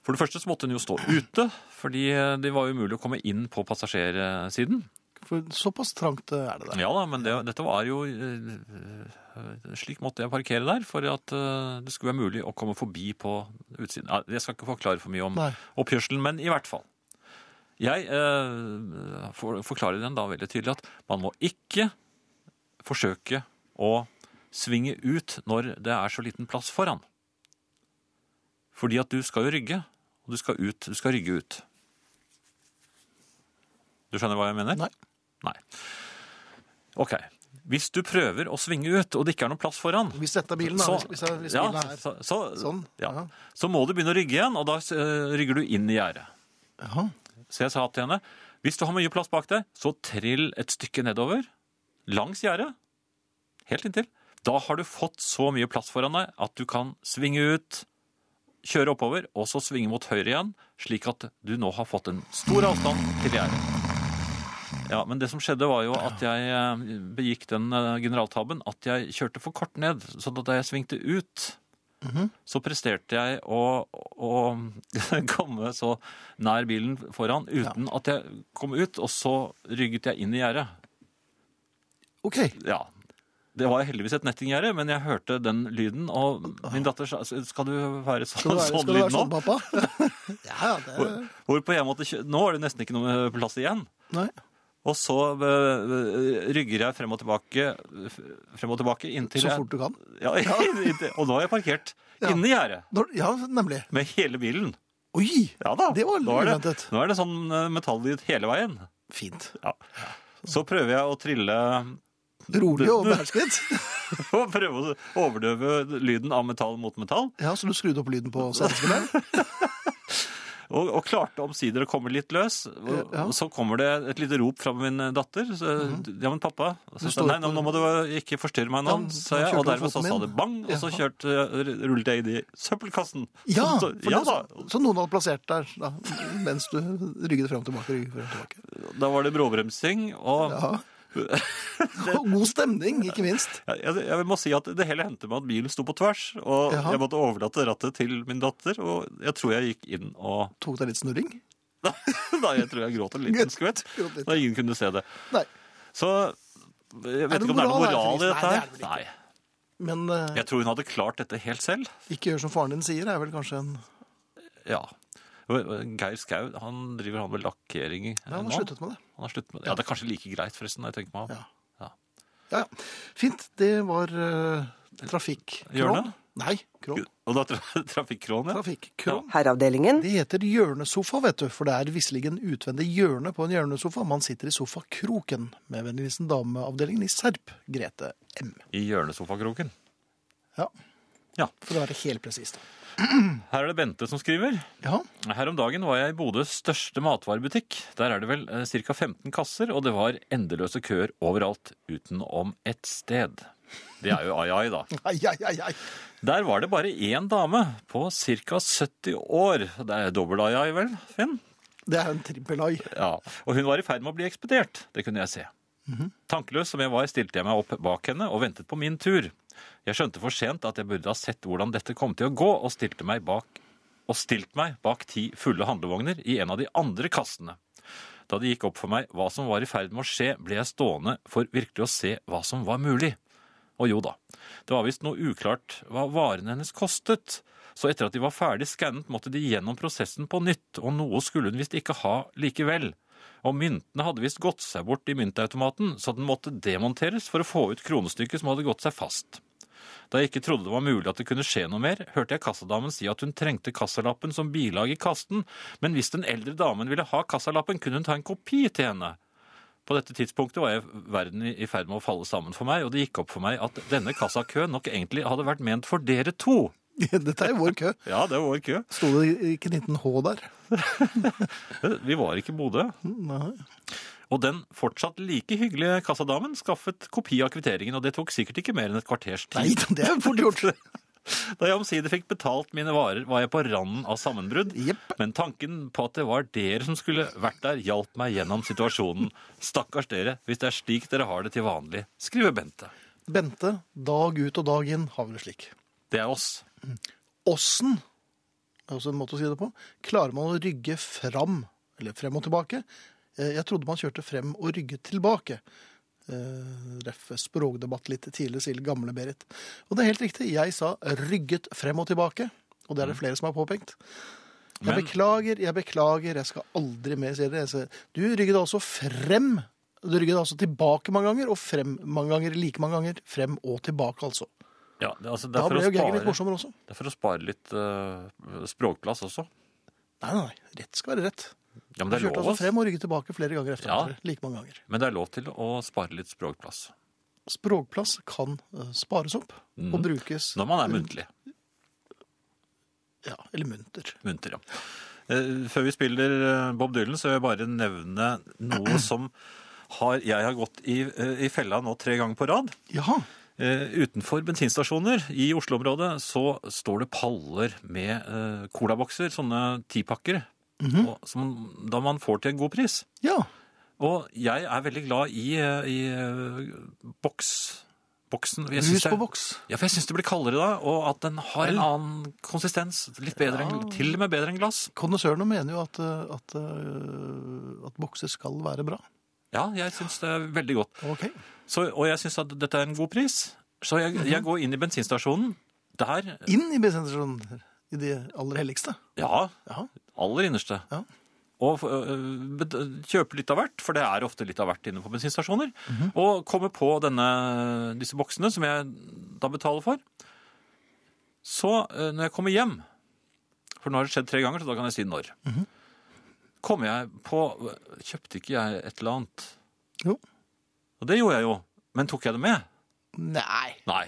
Speaker 1: For det første så måtte hun jo stå ute, fordi eh, det var jo umulig å komme inn på passasjersiden.
Speaker 2: For såpass trangt eh, er det der.
Speaker 1: Ja da, men det, dette var jo eh, Slik måtte jeg parkere der for at eh, det skulle være mulig å komme forbi på utsiden. Ja, Jeg skal ikke forklare for mye om
Speaker 2: Nei.
Speaker 1: oppgjørselen, men i hvert fall. Jeg eh, for, forklarer den da veldig tydelig at man må ikke forsøke å svinge ut når det er så liten plass foran. Fordi at du skal jo rygge, og du skal ut. Du skal rygge ut. Du skjønner hva jeg mener?
Speaker 2: Nei.
Speaker 1: Nei. Ok. Hvis du prøver å svinge ut, og det ikke er noen plass foran
Speaker 2: Hvis dette er bilen, da. Hvis, hvis, hvis
Speaker 1: ja,
Speaker 2: bilen er her.
Speaker 1: så, så,
Speaker 2: Sånn.
Speaker 1: Ja.
Speaker 2: Jaha.
Speaker 1: så må du begynne å rygge igjen, og da eh, rygger du inn i gjerdet.
Speaker 2: Jaha.
Speaker 1: Så jeg sa til henne hvis du har mye plass bak deg, så trill et stykke nedover langs gjerdet. Helt inntil. Da har du fått så mye plass foran deg at du kan svinge ut, kjøre oppover, og så svinge mot høyre igjen, slik at du nå har fått en stor avstand til gjerdet. Ja, men det som skjedde var jo at jeg eh, begikk den eh, generaltabben at jeg kjørte for kort ned, så da jeg svingte ut, så presterte jeg å, å komme så nær bilen foran uten at jeg kom ut, og så rygget jeg inn i gjerdet.
Speaker 2: OK.
Speaker 1: Ja. Det var heldigvis et nettinggjerde, men jeg hørte den lyden, og min datter sa Skal du være sånn,
Speaker 2: Skal det være,
Speaker 1: sånn
Speaker 2: skal det
Speaker 1: lyd
Speaker 2: være
Speaker 1: nå?
Speaker 2: sånn, pappa? ja, ja, det
Speaker 1: Hvor- Hvorpå jeg måtte kjø- Nå er det nesten ikke noe plass igjen.
Speaker 2: Nei.
Speaker 1: Og så eh, rygger jeg frem og tilbake, f- frem og tilbake inntil
Speaker 2: Så fort du kan.
Speaker 1: jeg, ja, inntil, Og nå har jeg parkert
Speaker 2: Ja.
Speaker 1: inne i gjerdet
Speaker 2: Når, ja, nemlig.
Speaker 1: med hele bilen.
Speaker 2: Oi!
Speaker 1: Ja da.
Speaker 2: Det var
Speaker 1: nå er det,
Speaker 2: uventet.
Speaker 1: nå er det sånn eh, metallyd hele veien.
Speaker 2: Fint.
Speaker 1: Ja. Så prøver jeg å trille
Speaker 2: Rolig og behersket.
Speaker 1: og prøve å overdøve lyden av metall mot metall.
Speaker 2: Ja, så du skrudde opp lyden på CD-spilleren?
Speaker 1: Og, og klarte omsider å komme litt løs. Og,
Speaker 2: Ja. Mhm.
Speaker 1: og så kommer det et lite rop fra min eh, datter. Så, Ja, men pappa så, sa jeg,
Speaker 2: står
Speaker 1: Nei, nå,
Speaker 2: på-
Speaker 1: nå må du ikke forstyrre meg nå,
Speaker 2: Ja,
Speaker 1: sa
Speaker 2: nå
Speaker 1: jeg. Og
Speaker 2: kjørte du
Speaker 1: dermed så
Speaker 2: foten
Speaker 1: sa
Speaker 2: min.
Speaker 1: det bang, og så
Speaker 2: Jaha.
Speaker 1: kjørte, jeg- rullet jeg inn i søppelkassen.
Speaker 2: Ja,
Speaker 1: så,
Speaker 2: for
Speaker 1: ja
Speaker 2: det-
Speaker 1: da.
Speaker 2: så noen hadde plassert der da, mens du rygget frem og tilbake. Rygget frem og tilbake.
Speaker 1: Da var det bråbremsing, og
Speaker 2: Ja. Og God stemning, ikke minst.
Speaker 1: jeg, jeg, jeg må si at det hele hendte med at bilen sto på tvers, og
Speaker 2: Jaha.
Speaker 1: jeg måtte overlate rattet til min datter, og jeg tror jeg gikk inn og
Speaker 2: Tok deg litt snurring?
Speaker 1: Nei, jeg tror jeg gråt en liten skvett,
Speaker 2: Gråt litt.
Speaker 1: da ingen kunne se det.
Speaker 2: Nei.
Speaker 1: Så jeg
Speaker 2: Er
Speaker 1: vet
Speaker 2: det
Speaker 1: ikke om det er noe
Speaker 2: moral her,
Speaker 1: moral i
Speaker 2: Felix?
Speaker 1: dette
Speaker 2: Nei,
Speaker 1: her.
Speaker 2: det er det vel
Speaker 1: Nei.
Speaker 2: Men eh,
Speaker 1: Jeg tror hun hadde klart dette helt selv.
Speaker 2: ikke gjør som faren din sier, er vel kanskje en
Speaker 1: Ja. Geir Skau han driver han med lakkering eh,
Speaker 2: Ja, han har
Speaker 1: nå.
Speaker 2: sluttet med det.
Speaker 1: Han har sluttet med det. Ja, Det er kanskje like greit, forresten. når jeg tenker meg om.
Speaker 2: Ja, ja. Fint. Det var uh, trafikk.
Speaker 1: Gjør det?
Speaker 2: Nei, Krån.
Speaker 1: Og da tra trafikkrån, ja.
Speaker 2: Trafikkrån.
Speaker 3: Herreavdelingen.
Speaker 2: Det heter hjørnesofa, vet du, for det er visselig en utvendig hjørne på en hjørnesofa. Man sitter i sofakroken med vennligheten dameavdelingen i Serp, Grete M.
Speaker 1: I hjørnesofakroken.
Speaker 2: Ja,
Speaker 1: Ja.
Speaker 2: for å være helt presist.
Speaker 1: Her er det Bente som skriver.
Speaker 2: Ja,
Speaker 1: Her om dagen var jeg i Bodøs største matvarebutikk. Der er det vel eh, ca. 15 kasser, og det var endeløse køer overalt, utenom ett sted. Det er jo ai ai, da.
Speaker 2: ai, ai, ai, ai.
Speaker 1: Der var det bare én dame på ca. 70 år. Det er dobbel ai ai, vel, Finn?
Speaker 2: Det er en trippelai.
Speaker 1: Ja, og hun var i ferd med å bli ekspedert. Det kunne jeg se. Tankeløs som jeg var, stilte jeg meg opp bak henne og ventet på min tur. Jeg skjønte for sent at jeg burde ha sett hvordan dette kom til å gå, og stilte meg bak, og stilt meg bak ti fulle handlevogner i en av de andre kassene. Da det gikk opp for meg hva som var i ferd med å skje, ble jeg stående for virkelig å se hva som var mulig. Og jo da, det var visst noe uklart hva varene hennes kostet. Så etter at de var ferdig skannet, måtte de gjennom prosessen på nytt, og noe skulle hun visst ikke ha likevel. Og myntene hadde visst gått seg bort i myntautomaten, så den måtte demonteres for å få ut kronestykket som hadde gått seg fast. Da jeg ikke trodde det var mulig at det kunne skje noe mer, hørte jeg kassadamen si at hun trengte kassalappen som bilag i kasten, men hvis den eldre damen ville ha kassalappen, kunne hun ta en kopi til henne. På dette tidspunktet var jeg verden i i ferd med å falle sammen for meg, og det gikk opp for meg at denne kassakøen nok egentlig hadde vært ment for dere to.
Speaker 2: Dette er jo vår kø.
Speaker 1: Ja, det var kø.
Speaker 2: Sto det ikke 19H der?
Speaker 1: Eh, Vi var ikke i Bodø.
Speaker 2: Nei.
Speaker 1: Og den fortsatt like hyggelige kassadamen skaffet kopi av kvitteringen, og det tok sikkert ikke mer enn et kvarters
Speaker 2: Nei,
Speaker 1: tid.
Speaker 2: det er fort gjort.
Speaker 1: Da jeg omsider fikk betalt mine varer, var jeg på randen av sammenbrudd.
Speaker 2: Jepp.
Speaker 1: Men tanken på at det var dere som skulle vært der, hjalp meg gjennom situasjonen. Stakkars dere, hvis det er slik dere har det til vanlig, skriver Bente.
Speaker 2: Bente, dag ut og dag inn, har vi det slik.
Speaker 1: Det er oss.
Speaker 2: Åssen, er også en måte å si det på, klarer man å rygge fram, eller frem og tilbake? Eh, Jeg trodde man kjørte frem og rygget tilbake. Eh, Ref språkdebatt litt tidligere, sier gamle Berit. Og det er helt riktig, jeg sa rygget frem og tilbake, og det er det flere som har påpekt. Jeg
Speaker 1: Mm. Men-
Speaker 2: beklager, jeg beklager, jeg skal aldri mer si det. Jeg sier, Du rygget altså frem, du rygget altså tilbake mange ganger, og frem mange ganger, like mange ganger, frem og tilbake altså.
Speaker 1: Ja, det, altså, det
Speaker 2: Da
Speaker 1: er for
Speaker 2: ble
Speaker 1: å
Speaker 2: jo gaggen litt
Speaker 1: spare.
Speaker 2: morsommere også.
Speaker 1: Det er for å spare litt eh, språkplass også.
Speaker 2: Nei, nei, nei. Rett skal være rett.
Speaker 1: Ja, men
Speaker 2: Du
Speaker 1: det er
Speaker 2: kjørte
Speaker 1: lov,
Speaker 2: altså
Speaker 1: ass.
Speaker 2: frem og rygget tilbake flere ganger efter
Speaker 1: Ja.
Speaker 2: hverandre. Like mange ganger.
Speaker 1: men det er lov til å spare litt språkplass
Speaker 2: Språkplass kan eh, spares opp og brukes
Speaker 1: Mm. når man er muntlig.
Speaker 2: Ja, eller munter.
Speaker 1: Munter, ja. Eh, Før vi spiller eh, Bob Dylan, så vil jeg bare nevne noe som har, jeg har gått i, eh, i fella nå tre ganger på rad.
Speaker 2: Jaha.
Speaker 1: Eh, Utenfor bensinstasjoner i Oslo-området så står det paller med eh, colabokser, sånne tipakker,
Speaker 2: Mhm.
Speaker 1: og som da man får til en god pris.
Speaker 2: Ja.
Speaker 1: Og jeg er veldig glad i, eh, i eh, boks. Boksen. Jeg synes
Speaker 2: Brus
Speaker 1: det-
Speaker 2: på boks.
Speaker 1: Ja, for jeg syns det blir kaldere da, og at den har en annen konsistens. Litt bedre enn, Til og med bedre enn glass.
Speaker 2: Kondisørene mener jo at, eh, at, eh, at bokser skal være bra.
Speaker 1: Ja, jeg syns det er veldig godt.
Speaker 2: Ok.
Speaker 1: Så, og jeg syns at dette er en god pris. Så jeg, jeg går inn i bensinstasjonen. Der
Speaker 2: Inn i bensinstasjonen. I de aller helligste.
Speaker 1: Ja,
Speaker 2: Jaha.
Speaker 1: aller innerste.
Speaker 2: Ja.
Speaker 1: Og øh, bet- kjøper litt av hvert, for det er ofte litt av hvert inne på bensinstasjoner.
Speaker 2: Mhm.
Speaker 1: Og kommer på denne, disse boksene, som jeg da betaler for. Så øh, når jeg kommer hjem For nå har det skjedd tre ganger, så da kan jeg si når.
Speaker 2: Mhm.
Speaker 1: Kommer jeg på øh, Kjøpte ikke jeg et eller annet?
Speaker 2: Jo.
Speaker 1: Og det gjorde jeg jo. Men tok jeg det med?
Speaker 2: Nei.
Speaker 1: Nei.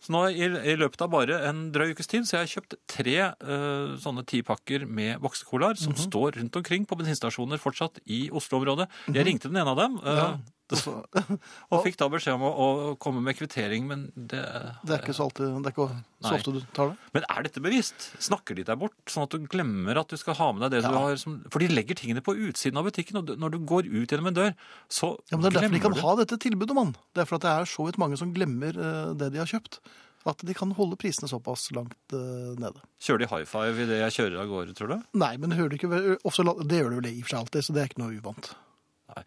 Speaker 1: Så nå i, i løpet av bare en drøy ukes tid, så jeg har kjøpt tre eh, sånne tipakker med boksecolaer som
Speaker 2: Mhm.
Speaker 1: står rundt omkring på bensinstasjoner fortsatt i Oslo-området. Jeg ringte den ene av dem, eh,
Speaker 2: Mhm. Ja.
Speaker 1: og, fikk da beskjed om å, å komme med kvittering, men det
Speaker 2: Det er ikke så, alltid, det er ikke så
Speaker 1: Nei.
Speaker 2: ofte du tar det.
Speaker 1: Men er dette bevisst? Snakker de deg bort, sånn at du glemmer at du skal ha med deg det du
Speaker 2: Ja.
Speaker 1: har som For de legger tingene på utsiden av butikken, og du, når du går ut gjennom en dør, så
Speaker 2: Ja, men det er derfor de
Speaker 1: glemmer
Speaker 2: kan
Speaker 1: du
Speaker 2: ha dette tilbudet, mann. Det er for at det er så vidt mange som glemmer eh, det de har kjøpt. At de kan holde prisene såpass langt eh, nede.
Speaker 1: Kjører de high five idet jeg kjører av gårde, tror du?
Speaker 2: Nei, men hører du ikke, vel- ofte, la- det gjør du vel i og for seg alltid, så det er ikke noe uvant.
Speaker 1: Nei.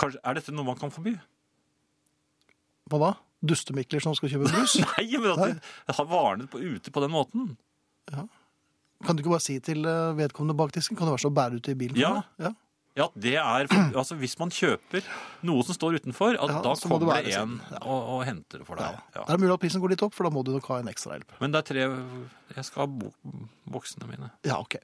Speaker 1: Kanskje, er dette noe man kan forby?
Speaker 2: Hva da? Dustemikler som skal kjøpe brus?
Speaker 1: Nei, men at de har varnet på, ute på den måten.
Speaker 2: Kan du ikke bare si til eh, vedkommende bak disken, kan du være så bære ut i bilen? for
Speaker 1: Ja.
Speaker 2: meg? ja.
Speaker 1: Ja, det er for, altså Hvis man kjøper noe som står utenfor, at
Speaker 2: Ja,
Speaker 1: da
Speaker 2: så må det
Speaker 1: kommer
Speaker 2: være
Speaker 1: det en
Speaker 2: siden.
Speaker 1: og, og henter det for
Speaker 2: Ja.
Speaker 1: deg. Ja.
Speaker 2: Det er mulig at prisen går litt opp, for da må du nok ha en ekstra hjelp.
Speaker 1: Men det er tre Jeg skal ha bo, boksene mine.
Speaker 2: Ja, ok.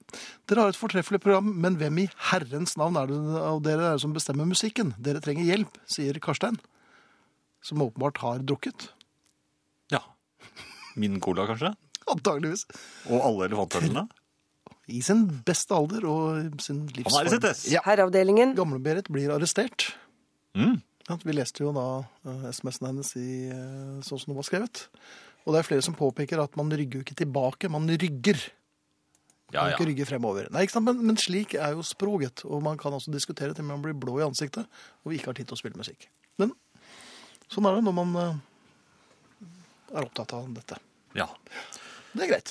Speaker 2: Dere har et fortreffelig program, men hvem i herrens navn er det av dere er det som bestemmer musikken? Dere trenger hjelp, sier Karstein, som åpenbart har drukket.
Speaker 1: Ja. Min cola, kanskje?
Speaker 2: Antageligvis.
Speaker 1: Og alle elefantøllene?
Speaker 2: I sin beste alder og sin livsform.
Speaker 1: Han er i sitt ess.
Speaker 2: Ja.
Speaker 3: Herreavdelingen.
Speaker 2: Gamle-Berit blir arrestert.
Speaker 1: Mm.
Speaker 2: Ja, Vi leste jo da eh, SMS-en hennes i, eh, sånn som den var skrevet. Og det er flere som påpeker at man rygger jo ikke tilbake, man rygger.
Speaker 1: Ja,
Speaker 2: Man kan
Speaker 1: ja.
Speaker 2: ikke rygge fremover. Nei, ikke sant? Men, men slik er jo sproget, og man kan altså diskutere til man blir blå i ansiktet og ikke har tid til å spille musikk. Men sånn er det når man eh, er opptatt av dette.
Speaker 1: ja.
Speaker 2: Det er greit.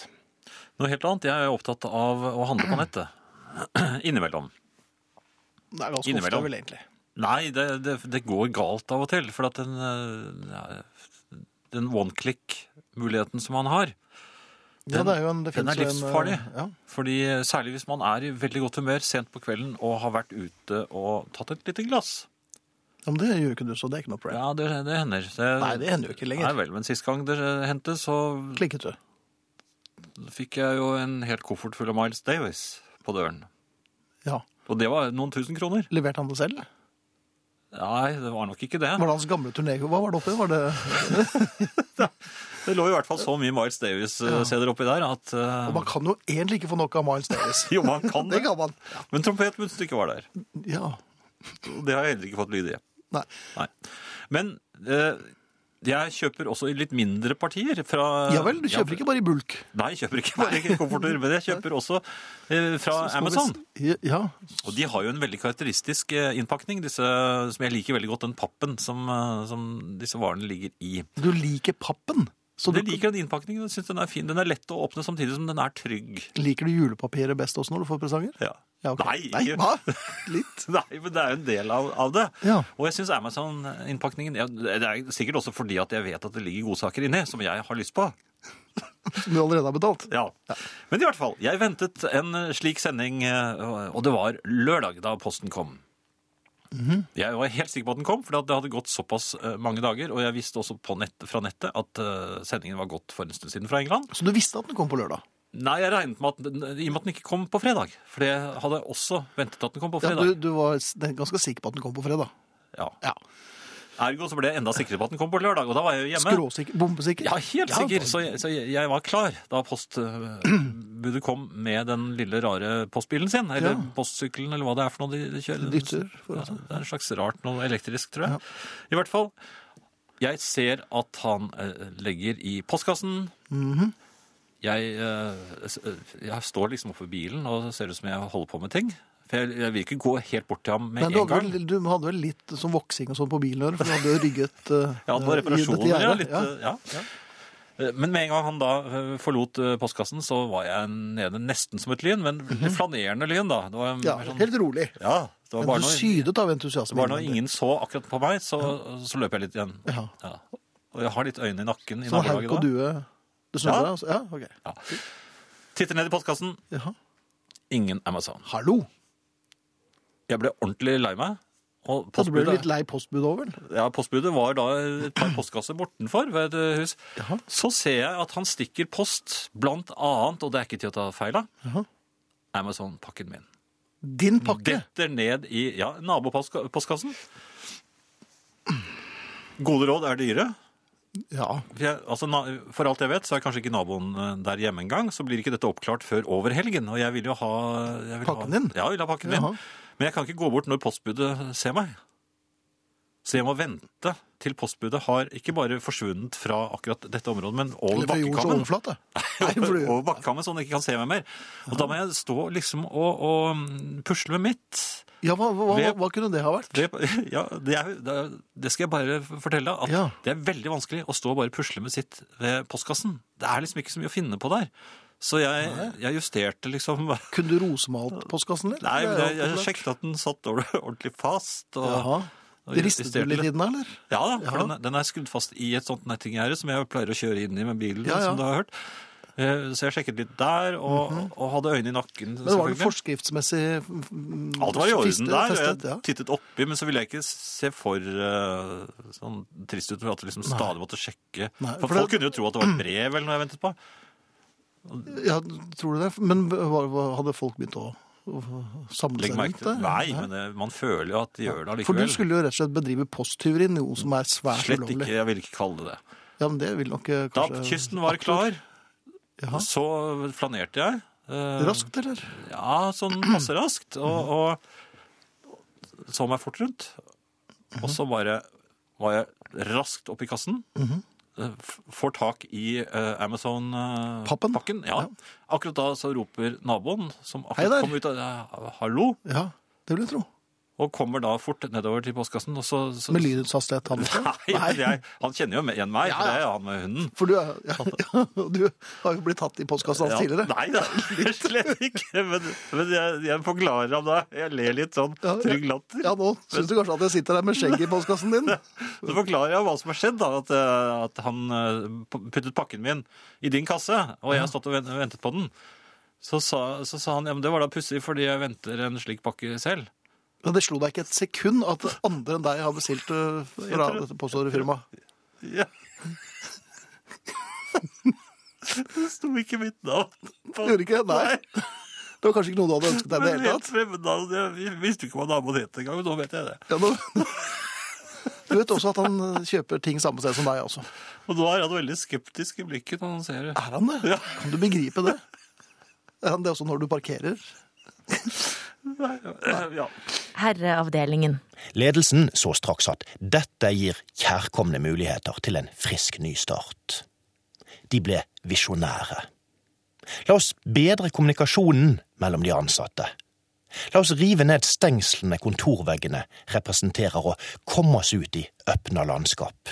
Speaker 1: Noe helt annet. Jeg er opptatt av å handle på nettet. Innimellom.
Speaker 2: Det er ganske
Speaker 1: Innimellom.
Speaker 2: ofte vel egentlig.
Speaker 1: Nei, det, det, det går galt av og til. For at den, eh, ja, den one-click-muligheten som man har
Speaker 2: ja,
Speaker 1: Den-
Speaker 2: det er jo en, det
Speaker 1: den er
Speaker 2: finnes jo en, eh,
Speaker 1: livsfarlig.
Speaker 2: ja.
Speaker 1: Fordi eh, Særlig hvis man er i veldig godt humør sent på kvelden og har vært ute og tatt et lite glass.
Speaker 2: ja, men det gjør ikke du, så det er ikke noe problem.
Speaker 1: Ja, det, det hender. Det,
Speaker 2: Nei, det hender jo ikke
Speaker 1: Nei
Speaker 2: lenger.
Speaker 1: vel, men Sist gang det hendte, så
Speaker 2: Klikket du?
Speaker 1: fikk jeg jo en hel koffert full av Miles Davis på døren.
Speaker 2: Ja.
Speaker 1: Og det var noen tusen kroner.
Speaker 2: Leverte han det selv?
Speaker 1: Nei, det var nok ikke det.
Speaker 2: Var det hans gamle turné? Hva var det oppi? Var det...
Speaker 1: Det lå i hvert fall så mye Miles Davis-CD-er oppi der at eh,
Speaker 2: Og man kan jo egentlig ikke få nok av Miles Davis.
Speaker 1: Jo, man kan
Speaker 2: Det
Speaker 1: det.
Speaker 2: kan man.
Speaker 1: Men trompetmunnstykket var der.
Speaker 2: Ja.
Speaker 1: Og Det har jeg heller ikke fått lyd i.
Speaker 2: Nei.
Speaker 1: Nei. Men eh, jeg kjøper også i litt mindre partier. Fra,
Speaker 2: Ja vel, du kjøper ikke bare i bulk.
Speaker 1: Nei, jeg kjøper ikke bare ikke kofferter, men jeg kjøper også eh, fra
Speaker 2: Så skal vi s-
Speaker 1: Amazon.
Speaker 2: Ja.
Speaker 1: Og de har jo en veldig karakteristisk eh, innpakning, disse, som jeg liker veldig godt, den pappen som, eh, som disse varene ligger i.
Speaker 2: Du liker pappen. Så du
Speaker 1: Jeg liker den innpakningen, jeg synes den er fin. Den er lett å åpne samtidig som den er trygg.
Speaker 2: liker du julepapiret best også når du får presanger?
Speaker 1: Ja.
Speaker 2: Ja, ok.
Speaker 1: Nei,
Speaker 2: Nei,
Speaker 1: ikke-
Speaker 2: hva? Litt.
Speaker 1: Nei, men det er jo en del av, av det.
Speaker 2: Ja.
Speaker 1: Og jeg syns Amazon-innpakningen ja, Det er sikkert også fordi at jeg vet at det ligger godsaker inni, som jeg har lyst på.
Speaker 2: Som du allerede har betalt.
Speaker 1: Ja. Men i hvert fall, jeg ventet en slik sending, eh, og det var lørdag da posten kom.
Speaker 2: Mhm.
Speaker 1: Jeg var helt sikker på at den kom, for det hadde gått såpass eh, mange dager. Og jeg visste også på nett, fra nettet at eh, sendingen var gått for en stund siden fra England.
Speaker 2: Så du visste at den kom på lørdag?
Speaker 1: Nei, jeg regnet med at den, i og med at den ikke kom på fredag. For det hadde jeg også ventet at den kom på
Speaker 2: Ja, du,
Speaker 1: fredag.
Speaker 2: du var s- ganske sikker på at den kom på fredag.
Speaker 1: Ja.
Speaker 2: Ja.
Speaker 1: Ergo så ble jeg enda sikrere på at den kom på lørdag, og da var jeg jo hjemme.
Speaker 2: Skråsikker? Bombesikker?
Speaker 1: Ja, helt
Speaker 2: Ja,
Speaker 1: sikker.
Speaker 2: da-
Speaker 1: Så jeg, så jeg jeg var klar da postbudet kom med den lille rare postbilen sin, eller
Speaker 2: Ja.
Speaker 1: postsykkelen, eller hva det er for noe de, de kjører.
Speaker 2: Dytter, altså. for å
Speaker 1: ja,
Speaker 2: si.
Speaker 1: det er en slags rart noe elektrisk, tror jeg. I hvert fall, jeg ser at han eh, legger i postkassen.
Speaker 2: Mhm.
Speaker 1: jeg, eh, s- eh, jeg står liksom oppe i bilen og ser ut som jeg holder på med ting. For jeg, jeg vil ikke gå helt bort til ham med
Speaker 2: Men du
Speaker 1: en
Speaker 2: hadde,
Speaker 1: gang.
Speaker 2: vel, du hadde vel litt sånn voksing og sånn på bilen, å gjøre, for du hadde jo rygget uh,
Speaker 1: Ja, det var
Speaker 2: i dette
Speaker 1: reparasjoner, ja.
Speaker 2: gjerdet.
Speaker 1: Litt, eh, ja. Eh, Men med en gang han da eh, forlot eh, postkassen, så var jeg nede nesten som et lyn, men litt flanerende lyn, da. Det var,
Speaker 2: Mhm. Ja,
Speaker 1: mer sånn,
Speaker 2: helt rolig.
Speaker 1: ja, det var
Speaker 2: Men
Speaker 1: bare
Speaker 2: du
Speaker 1: når,
Speaker 2: sydet av entusiasme.
Speaker 1: det var når ingen så akkurat på meg, så, så løp jeg litt igjen.
Speaker 2: Ja.
Speaker 1: Ja. Og jeg har litt øyne i nakken i
Speaker 2: Sånn hauk og
Speaker 1: nabolaget da.
Speaker 2: due. Du snudde
Speaker 1: Ja.
Speaker 2: deg, altså? Ja, ok.
Speaker 1: Titter ned i postkassen.
Speaker 2: Jaha.
Speaker 1: Ingen Amazon.
Speaker 2: Hallo!
Speaker 1: Jeg ble ordentlig lei meg. Og
Speaker 2: Så du ble
Speaker 1: postbudet,
Speaker 2: litt lei postbud over den?
Speaker 1: ja, postbudet var da et par postkasser bortenfor ved et eh, hus.
Speaker 2: Jaha.
Speaker 1: Så ser jeg at han stikker post, blant annet, og det er ikke til å ta feil av,
Speaker 2: Jaha.
Speaker 1: Amazon-pakken min.
Speaker 2: Din pakke?
Speaker 1: Detter ned i ja, nabopostkassen. Gode råd er dyre.
Speaker 2: Ja.
Speaker 1: For, jeg, altså, na- for alt jeg vet, så er kanskje ikke naboen eh, der hjemme engang. Så blir ikke dette oppklart før over helgen. Og jeg vil jo ha jeg vil
Speaker 2: Pakken
Speaker 1: ha,
Speaker 2: din?
Speaker 1: Ja, jeg vil ha pakken
Speaker 2: Jaha.
Speaker 1: min. Men jeg kan ikke gå bort når postbudet ser meg. Så jeg må vente til postbudet har ikke bare forsvunnet fra akkurat dette området, men over
Speaker 2: Eller fra jords
Speaker 1: bakkekammen.
Speaker 2: overflate? Nei, for du-
Speaker 1: over bakkekammen, så han ikke kan se meg mer. Og da må jeg stå liksom og, og mm, pusle med mitt.
Speaker 2: Ja, hva, hva, hva,
Speaker 1: Ved-
Speaker 2: hva kunne det ha vært?
Speaker 1: Det, ja, det, er, det er- det skal jeg bare fortelle deg, at
Speaker 2: Ja.
Speaker 1: det er veldig vanskelig å stå og bare pusle med sitt ved postkassen. Det er liksom ikke så mye å finne på der. Så jeg, jeg justerte liksom Nei,
Speaker 2: Kunne du rosemalt postkassen litt?
Speaker 1: men
Speaker 2: Det er
Speaker 1: jeg, jeg
Speaker 2: populært.
Speaker 1: sjekket at den satt over- ordentlig fast. Og,
Speaker 2: Jaha.
Speaker 1: og
Speaker 2: Det ristet du
Speaker 1: justerte
Speaker 2: litt i den, eller?
Speaker 1: Ja, da, for
Speaker 2: Ja.
Speaker 1: Den, er- den er skrudd fast i et sånt nettinggjerde som jeg pleier å kjøre inn i med bilen,
Speaker 2: Ja, ja.
Speaker 1: som du har hørt. Eh, Så jeg sjekket litt der, og, og hadde øynene i nakken.
Speaker 2: Mhm. Men var det
Speaker 1: selvfølgelig.
Speaker 2: forskriftsmessig mm,
Speaker 1: Alt var i orden
Speaker 2: fistet,
Speaker 1: der. og
Speaker 2: Testet, ja.
Speaker 1: Jeg tittet oppi, men så ville jeg ikke se for eh, sånn trist ut for at jeg liksom stadig måtte sjekke.
Speaker 2: Nei,
Speaker 1: for
Speaker 2: for
Speaker 1: folk
Speaker 2: det-
Speaker 1: kunne jo tro at det var et brev eller noe jeg ventet på.
Speaker 2: ja, tror du det? Men hva- hva- hadde folk begynt å, å samle
Speaker 1: Legg
Speaker 2: seg
Speaker 1: merke
Speaker 2: rundt
Speaker 1: til
Speaker 2: det?
Speaker 1: Nei, men eh, man føler jo at de gjør det
Speaker 2: For du
Speaker 1: allikevel.
Speaker 2: skulle jo rett og slett bedrive posttyveri, noe som er svært
Speaker 1: Slett
Speaker 2: ulovlig.
Speaker 1: ikke. Jeg ville ikke kalle det det.
Speaker 2: Ja, men det vil nok eh,
Speaker 1: Da
Speaker 2: kanskje...
Speaker 1: kysten var klar,
Speaker 2: Jaha.
Speaker 1: så flanerte jeg. eh,
Speaker 2: Raskt, eller?
Speaker 1: Ja, sånn passe raskt. Og, og så meg fort rundt. Og så bare var jeg raskt opp i kassen. eh, f- Får tak i eh,
Speaker 2: Pappen?
Speaker 1: Amazon-pakken. ja.
Speaker 2: Ja.
Speaker 1: Akkurat da så roper naboen, som
Speaker 2: Hei
Speaker 1: akkurat
Speaker 2: der.
Speaker 1: kom ut av eh, Hallo!
Speaker 2: Ja, det vil jeg tro.
Speaker 1: Og kommer da fort nedover til postkassen, og så, så
Speaker 2: Med lydets hastighet, han også.
Speaker 1: Nei, men jeg, han kjenner jo igjen meg, for det er jo han med hunden.
Speaker 2: For du, er- ja, ja, du har jo blitt tatt i postkassa hans
Speaker 1: Ja,
Speaker 2: tidligere.
Speaker 1: nei da, slett ikke. Men, men jeg, jeg forklarer ham da. Jeg ler litt sånn
Speaker 2: Ja, ja.
Speaker 1: trygg latter.
Speaker 2: Ja, nå syns du kanskje at jeg sitter der med skjegget i postkassen din.
Speaker 1: Så forklarer jeg hva som har skjedd, da. At, eh, at han eh, puttet pakken min i din kasse, og jeg har stått og ven- ventet på den. Så sa, så sa han ja, men det var da pussig, fordi jeg venter en slik pakke selv.
Speaker 2: Men det slo deg ikke et sekund at andre enn deg har bestilt eh, fra dette påståtte firmaet.
Speaker 1: Ja. Det sto ikke mitt navn. på-
Speaker 2: Gjorde ikke? Nei. Det var kanskje ikke noe du hadde ønsket deg i det
Speaker 1: Men
Speaker 2: hele
Speaker 1: helt
Speaker 2: tatt.
Speaker 1: fremmed, jeg visste ikke hva naboen het engang, men nå vet jeg det.
Speaker 2: Ja, nå... Du vet også at han eh, kjøper ting samme sted som deg også.
Speaker 1: Og nå er han veldig skeptisk i blikket når han ser det.
Speaker 2: Er han det?
Speaker 1: Ja.
Speaker 2: Kan du begripe det? Er han det også når du parkerer? Ah.
Speaker 1: Ja.
Speaker 3: Herreavdelingen.
Speaker 4: Ledelsen så straks at dette gir kjærkomne muligheter til en frisk ny start. De ble visjonære. La oss bedre kommunikasjonen mellom de ansatte. La oss rive ned stengslene kontorveggene representerer og komme oss ut i øpna landskap.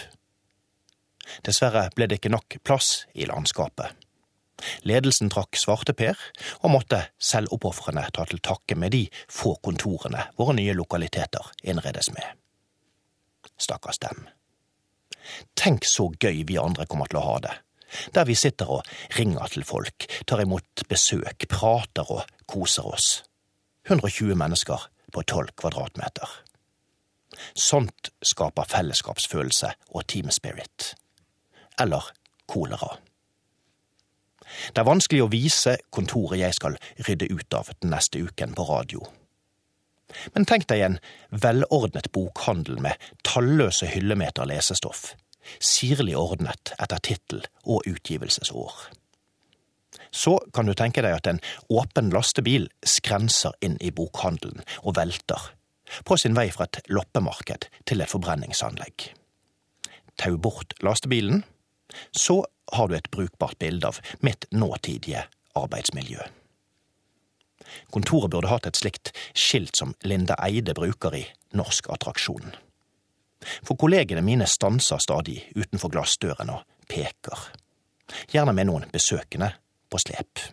Speaker 4: Dessverre ble det ikke nok plass i landskapet. Ledelsen trakk svarteper, og måtte selvopofrende ta til takke med de få kontorene våre nye lokaliteter innredes med. Stakkars dem. Tenk så gøy vi andre kommer til å ha det. Der vi sitter og ringer til folk, tar imot besøk, prater og koser oss. 120 mennesker på 12 kvadratmeter. Sånt skaper fellesskapsfølelse og team spirit. Eller kolera. Det er vanskelig å vise kontoret jeg skal rydde ut av den neste uken på radio. Men tenk deg en velordnet bokhandel med talløse hyllemeter lesestoff, sirlig ordnet etter tittel og utgivelsesår. Så kan du tenke deg at en åpen lastebil skrenser inn i bokhandelen og velter, på sin vei fra et loppemarked til et forbrenningsanlegg. Tau bort lastebilen, så har du et brukbart bilde av mitt nåtidige arbeidsmiljø. Kontoret burde hatt et slikt skilt som Linda Eide bruker i Norsk attraksjon. For kollegene mine stanser stadig utenfor glassdøren og peker. Gjerne med noen besøkende på slep.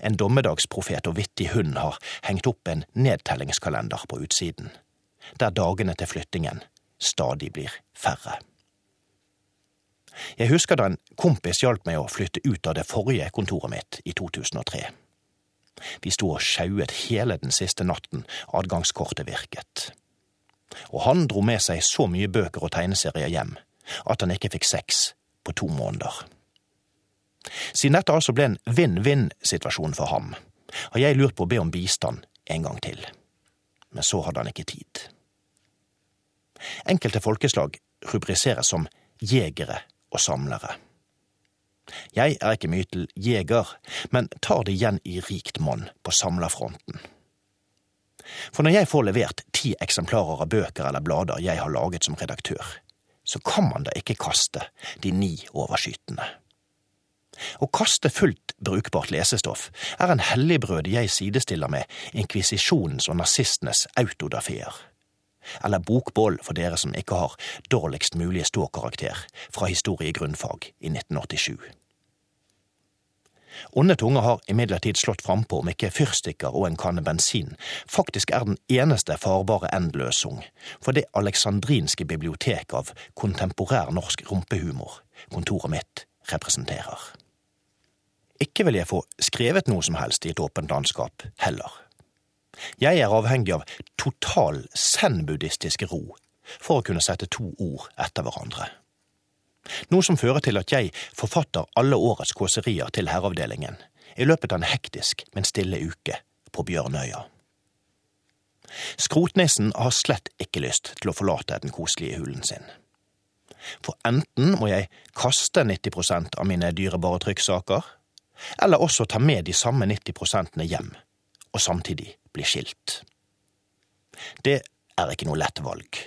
Speaker 4: En dommedagsprofet og vittig hund har hengt opp en nedtellingskalender på utsiden, der dagene til flyttingen stadig blir færre. Jeg husker da en kompis hjalp meg å flytte ut av det forrige kontoret mitt i 2003. Vi sto og sjauet hele den siste natten adgangskortet virket. Og han dro med seg så mye bøker og tegneserier hjem at han ikke fikk sex på to måneder. Siden dette altså ble en vinn-vinn-situasjon for ham, har jeg lurt på å be om bistand en gang til. Men så hadde han ikke tid. Enkelte folkeslag rubriseres som jegere og samlere. Jeg er ikke mye til jeger, men tar det igjen i rikt monn på samlerfronten. For når jeg får levert ti eksemplarer av bøker eller blader jeg har laget som redaktør, så kan man da ikke kaste de ni overskytende. Å kaste fullt brukbart lesestoff er en helligbrød jeg sidestiller med inkvisisjonens og nazistenes autodafeer eller bokbål for dere som ikke har dårligst mulige ståkarakter fra historie i grunnfag i 1987. Onde tunger har imidlertid slått frampå om ikke fyrstikker og en kanne bensin faktisk er den eneste farbare endløsung for det aleksandrinske bibliotek av kontemporær norsk rumpehumor kontoret mitt representerer. Ikke vil jeg få skrevet noe som helst i et åpent landskap heller. Jeg er avhengig av total zen-buddhistisk ro for å kunne sette to ord etter hverandre. Noe som fører til at jeg forfatter alle årets kåserier til herreavdelingen i løpet av en hektisk, men stille uke på Bjørnøya. Skrotnissen har slett ikke lyst til å forlate den koselige hulen sin. For enten må jeg kaste 90 av mine dyrebare trykksaker, eller også ta med de samme 90 hjem, og samtidig bli skilt. Det er ikke noe lett valg,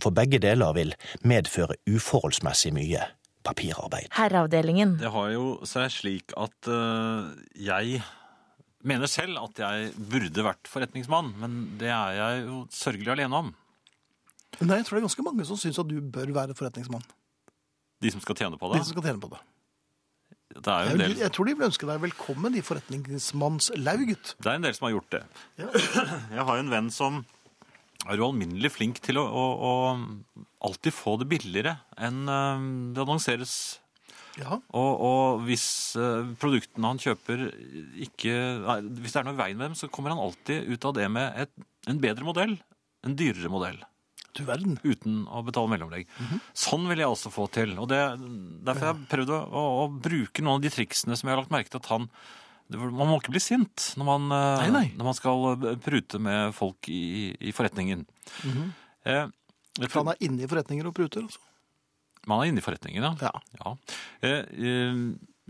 Speaker 4: for begge deler vil medføre uforholdsmessig mye papirarbeid.
Speaker 3: Herreavdelingen.
Speaker 1: Det har jo seg slik at eh, jeg mener selv at jeg burde vært forretningsmann, men det er jeg jo sørgelig alene om.
Speaker 2: Nei, jeg tror det er ganske mange som syns at du bør være forretningsmann.
Speaker 1: De som skal tjene på
Speaker 2: De
Speaker 1: det.
Speaker 2: som skal tjene på det.
Speaker 1: Det er jo
Speaker 2: Jeg,
Speaker 1: en
Speaker 2: vil,
Speaker 1: del,
Speaker 2: jeg tror de vil ønske deg velkommen i forretningsmannslauget.
Speaker 1: det er en del som har gjort det. Jeg har jo en venn som er jo alminnelig flink til å, å, å alltid få det billigere enn eh, det annonseres.
Speaker 2: Ja.
Speaker 1: Og, og hvis eh, produktene han kjøper ikke nei, Hvis det er noe i veien med dem, så kommer han alltid ut av det med et, en bedre modell. En dyrere modell.
Speaker 2: Du verden.
Speaker 1: uten å betale mellomlegg.
Speaker 2: Mhm.
Speaker 1: Sånn vil jeg også få til. og det, Derfor har jeg prøvd å, å, å bruke noen av de triksene som jeg har lagt merke til at han det- Man må ikke bli sint når man, eh,
Speaker 2: Nei, nei.
Speaker 1: Når man skal eh, prute med folk i, i forretningen.
Speaker 2: Mhm.
Speaker 1: Eh, jeg
Speaker 2: For
Speaker 1: tror-
Speaker 2: han er inne i forretninger og pruter, altså.
Speaker 1: man er inne i forretningen, ja.
Speaker 2: Ja.
Speaker 1: ja. Eh, eh,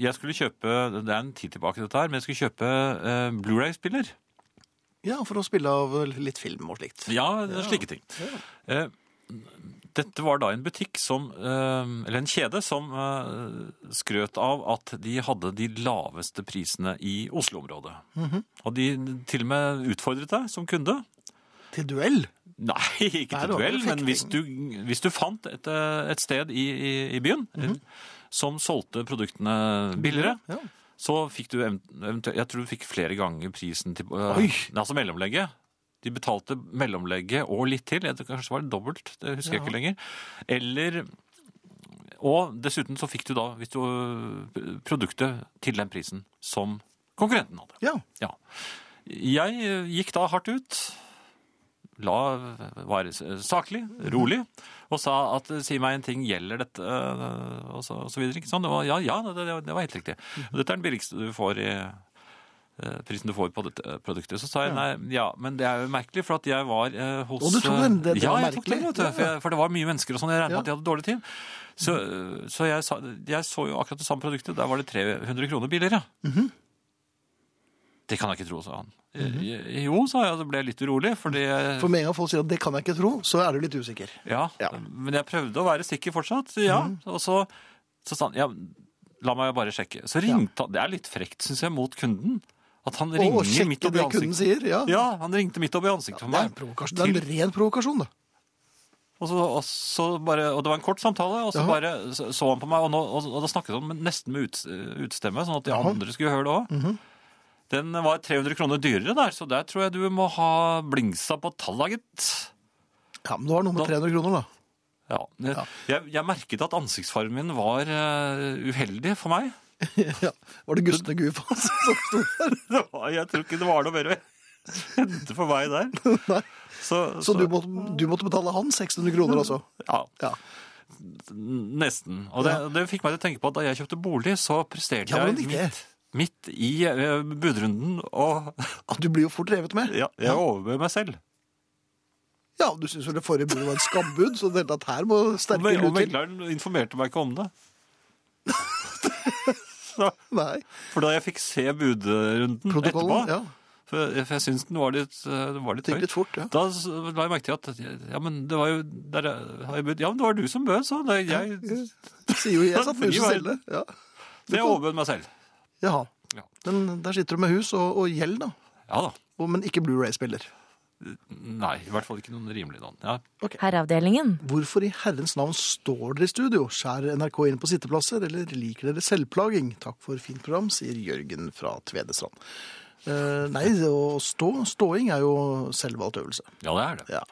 Speaker 1: jeg skulle kjøpe Det er en tid tilbake, dette her, men jeg skulle kjøpe eh, Blu-ray-spiller.
Speaker 2: ja, for å spille av eh, litt film og slikt.
Speaker 1: Ja, slike ting. Eh, Dette var da en butikk som, eh, eller en kjede som eh, skrøt av at de hadde de laveste prisene i Oslo-området.
Speaker 2: Mhm.
Speaker 1: Og de til og med utfordret deg som kunde.
Speaker 2: Til duell.
Speaker 1: Nei, ikke
Speaker 2: Nei,
Speaker 1: til
Speaker 2: det var
Speaker 1: duell,
Speaker 2: vel
Speaker 1: men hvis
Speaker 2: fekting.
Speaker 1: du, hvis du fant et, eh, et sted i, i, i byen eh, som solgte produktene billigere,
Speaker 2: Mhm. Ja.
Speaker 1: så fikk du event- eventuelt Jeg tror du fikk flere ganger prisen til eh,
Speaker 2: Oi!
Speaker 1: nei, Altså mellomlegget. De betalte mellomlegget og litt til. Jeg tror kanskje det var dobbelt. Det husker jeg ikke lenger. Eller Og dessuten så fikk du da hvis du, eh, produktet til den prisen som konkurrenten hadde.
Speaker 2: ja.
Speaker 1: Ja. Jeg eh, gikk da hardt ut. La, var saklig, rolig, og sa at eh, si meg en ting, gjelder dette, eh, og så, og så videre. ikke sant? Det var, ja, ja, det, det, det var helt riktig. Og Dette er den billigste du får i eh, prisen du får på dette eh, produktet. Så sa jeg nei, ja, men det er jo merkelig, for at jeg var eh, hos
Speaker 2: Og du tok den, det- det
Speaker 1: ja,
Speaker 2: var
Speaker 1: jeg tok den,
Speaker 2: merkelig.
Speaker 1: vet du,
Speaker 2: Ja, ja.
Speaker 1: for, jeg, for det var mye mennesker og sånn, jeg regnet med
Speaker 2: Ja.
Speaker 1: at de hadde dårlig tid. Så, eh, så jeg, sa, jeg så jo akkurat det samme produktet, der var det 300 kroner billigere. Det kan jeg ikke tro, sa han. «Eh, Jo, sa jeg, og så ble jeg litt urolig, fordi jeg-
Speaker 2: Mhm. For med en gang folk sier at det kan jeg ikke tro, så er du litt usikker.
Speaker 1: ja,
Speaker 2: Ja. Mhm.
Speaker 1: Men jeg prøvde å være sikker fortsatt, så ja. Og så, så sa han, ja, la meg bare sjekke. Så ringte han, det er litt frekt, synes jeg, mot kunden. At han ringer
Speaker 2: Og sjekke
Speaker 1: midt opp i
Speaker 2: det kunden
Speaker 1: ansiktet.
Speaker 2: sier. Ja.
Speaker 1: Ja, han ringte midt opp i ansiktet på
Speaker 2: Det er,
Speaker 1: meg.
Speaker 2: en provokasjon. det er en ren provokasjon, da.
Speaker 1: Og, så, og, så bare, og det var en kort samtale, og så
Speaker 2: Jaha.
Speaker 1: bare så så han på meg, og, nå, og, og da snakket han med- nesten med ut, utstemme, sånn at de
Speaker 2: Jaha.
Speaker 1: andre skulle høre det òg. Den var 300 kroner dyrere der, så der tror jeg du må ha blingsa på tallet, gitt.
Speaker 2: Ja, Men du har noe med
Speaker 1: Da-
Speaker 2: 300 kroner, da.
Speaker 1: Ja. Jeg, jeg merket at ansiktsfargen min var eh, uheldig for meg.
Speaker 2: ja. Var det Gustav Gufaas som sto der?
Speaker 1: Det var, jeg tror ikke det var noe mer å hente for meg der.
Speaker 2: Nei.
Speaker 1: Så,
Speaker 2: Så du måtte, du måtte betale han 600 kroner, altså?
Speaker 1: ja,
Speaker 2: Ja.
Speaker 1: Nesten. Og det, det fikk meg til å tenke på at da jeg kjøpte bolig, så presterte
Speaker 2: Ja, hvordan
Speaker 1: jeg
Speaker 2: gikk det?
Speaker 1: midt, midt i eh, budrunden og
Speaker 2: Ah, Du blir jo fort revet med.
Speaker 1: ja, jeg overbød meg selv.
Speaker 2: Ja, Du syns vel det forrige budet var et skambud, så det hele tatt her må
Speaker 1: Og
Speaker 2: sterke
Speaker 1: meg- og
Speaker 2: lut til.
Speaker 1: megleren informerte meg ikke om det. Så,
Speaker 2: Nei.
Speaker 1: for da jeg fikk se budrunden etterpå,
Speaker 2: Protokollen. Ja.
Speaker 1: for, for jeg syns den var litt, eh, den var litt
Speaker 2: Det
Speaker 1: høy,
Speaker 2: gikk litt fort, ja.
Speaker 1: da s- la jeg merke til at ja, men det var jo der jeg, har jeg bud. Ja, men det var du som bød, så det, jeg,
Speaker 2: Du sier jo jeg satt med
Speaker 1: Fri
Speaker 2: huset
Speaker 1: verden.
Speaker 2: selv. Ja.
Speaker 1: så jeg overbød meg selv.
Speaker 2: Jaha.
Speaker 1: Ja.
Speaker 2: Men der sitter du med hus og, og gjeld, da.
Speaker 1: Ja da.
Speaker 2: Og, men ikke Blu-ray-spiller.
Speaker 1: Nei, i hvert fall ikke noen rimelige navn. Ja,
Speaker 3: Herreavdelingen.
Speaker 2: Hvorfor i herrens navn står dere i studio? Skjærer NRK inn på sitteplasser, eller liker dere selvplaging? Takk for fint program, sier Jørgen fra Tvedestrand. Eh, nei, det å stå, ståing er jo selvvalgt øvelse.
Speaker 1: ja det er det.
Speaker 2: Ja.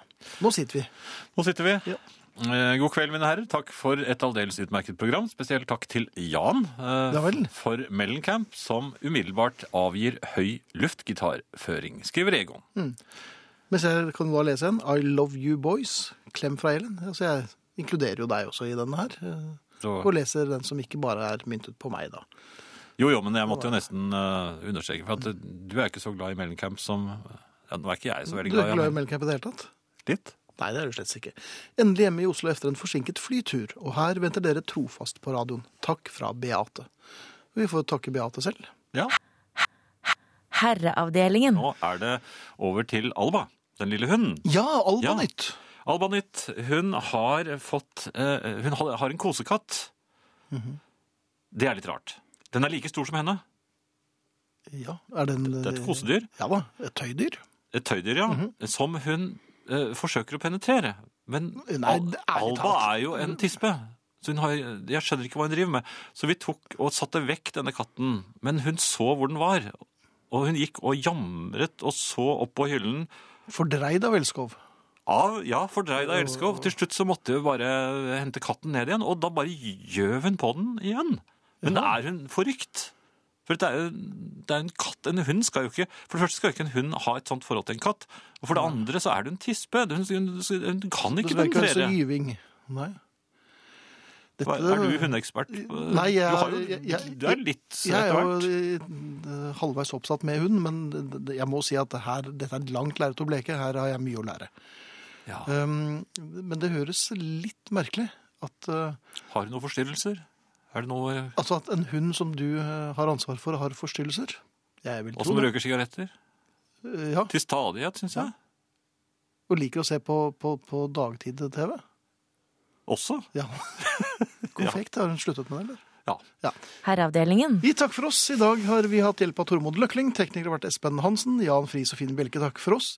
Speaker 2: Nå sitter vi.
Speaker 1: Nå sitter vi.
Speaker 5: Eh, God kveld, mine herrer. Takk for et aldeles utmerket program. Spesielt takk til Jan eh,
Speaker 2: Ja vel.
Speaker 5: for Mellencamp, som umiddelbart avgir høy luftgitarføring, skriver Egon.
Speaker 2: Mens jeg kan da lese en. I love you boys. Klem fra Ellen. Altså, jeg inkluderer jo deg også i denne her. eh,
Speaker 5: Så-
Speaker 2: Og leser den som ikke bare er myntet på meg, da.
Speaker 5: Jo, jo, men jeg måtte jo nesten eh, understreke, for at eh, du er ikke så glad i Mellencamp som ja, Nå er ikke jeg så veldig
Speaker 2: Du er ikke
Speaker 5: glad i
Speaker 2: glad i
Speaker 5: ham.
Speaker 2: melkekamp i det hele tatt?
Speaker 5: Litt?
Speaker 2: Nei, det er du slett ikke. Endelig hjemme i Oslo etter en forsinket flytur, og her venter dere trofast på radioen. Takk fra Beate. Vi får takke Beate selv.
Speaker 5: Ja.
Speaker 3: Herreavdelingen.
Speaker 5: Nå er det over til Alba, den lille hunden.
Speaker 2: Ja, alt
Speaker 5: Ja.
Speaker 2: på nytt!
Speaker 5: Alba Nytt, hun har fått eh, Hun har har en kosekatt.
Speaker 2: Mhm.
Speaker 5: Det er litt rart. Den er like stor som henne.
Speaker 2: Ja, er det, en,
Speaker 5: Det er et kosedyr.
Speaker 2: Ja da, et tøydyr.
Speaker 5: Et tøydyr, ja.
Speaker 2: Mhm.
Speaker 5: Som hun eh, forsøker å penetre. Men
Speaker 2: Nei,
Speaker 5: Al-
Speaker 2: det er litt
Speaker 5: Alba
Speaker 2: rart.
Speaker 5: er jo en tispe. Så hun har, jeg skjønner ikke hva hun driver med. Så vi tok og satte vekk denne katten, men hun så hvor den var. Og hun gikk og jamret og så opp på hyllen.
Speaker 2: Fordreid av elskov.
Speaker 5: Av, ja, fordreid av elskov. Til slutt så måtte vi bare hente katten ned igjen, og da bare gjøv hun på den igjen. Men er hun forrykt? For det er jo det er en katt. En hund skal jo ikke For det første skal jo ikke en hund ha et sånt forhold til en katt. Og for det andre så er det en tispe. Hun, hun, hun kan
Speaker 2: Det
Speaker 5: ikke
Speaker 2: skal ikke være så
Speaker 5: penetrere.
Speaker 2: gyving. Nei.
Speaker 5: Hva-
Speaker 2: Dette-
Speaker 5: Er du hundeekspert?
Speaker 2: Nei, jeg,
Speaker 5: du, har jo,
Speaker 2: jeg- jeg-
Speaker 5: du er litt
Speaker 2: jeg er
Speaker 5: etter
Speaker 2: jo
Speaker 5: hvert.
Speaker 2: eh, halvveis oppsatt med hund, men det- det- jeg må si at det her, dette er et langt lerret å bleke. Her har jeg mye å lære.
Speaker 5: Ja.
Speaker 2: Um, men det høres litt merkelig at, eh,
Speaker 5: Har du noen forstyrrelser? Er det noe
Speaker 2: altså at en hund som du eh, har ansvar for, har forstyrrelser. Jeg vil
Speaker 5: Og
Speaker 2: tro
Speaker 5: som
Speaker 2: det.
Speaker 5: røker sigaretter?
Speaker 2: Eh, Ja,
Speaker 5: Til stadighet, syns jeg.
Speaker 2: og liker å se på, på, på dagtid-TV.
Speaker 5: Også.
Speaker 2: Ja. Konfekt, har hun sluttet med det, eller?
Speaker 5: Ja.
Speaker 3: Herreavdelingen.
Speaker 2: Vi takk for oss. I dag har vi hatt hjelp av Tormod Løkling, tekniker har vært Espen Hansen, Jan Friis og Finn Bjelke, takk for oss.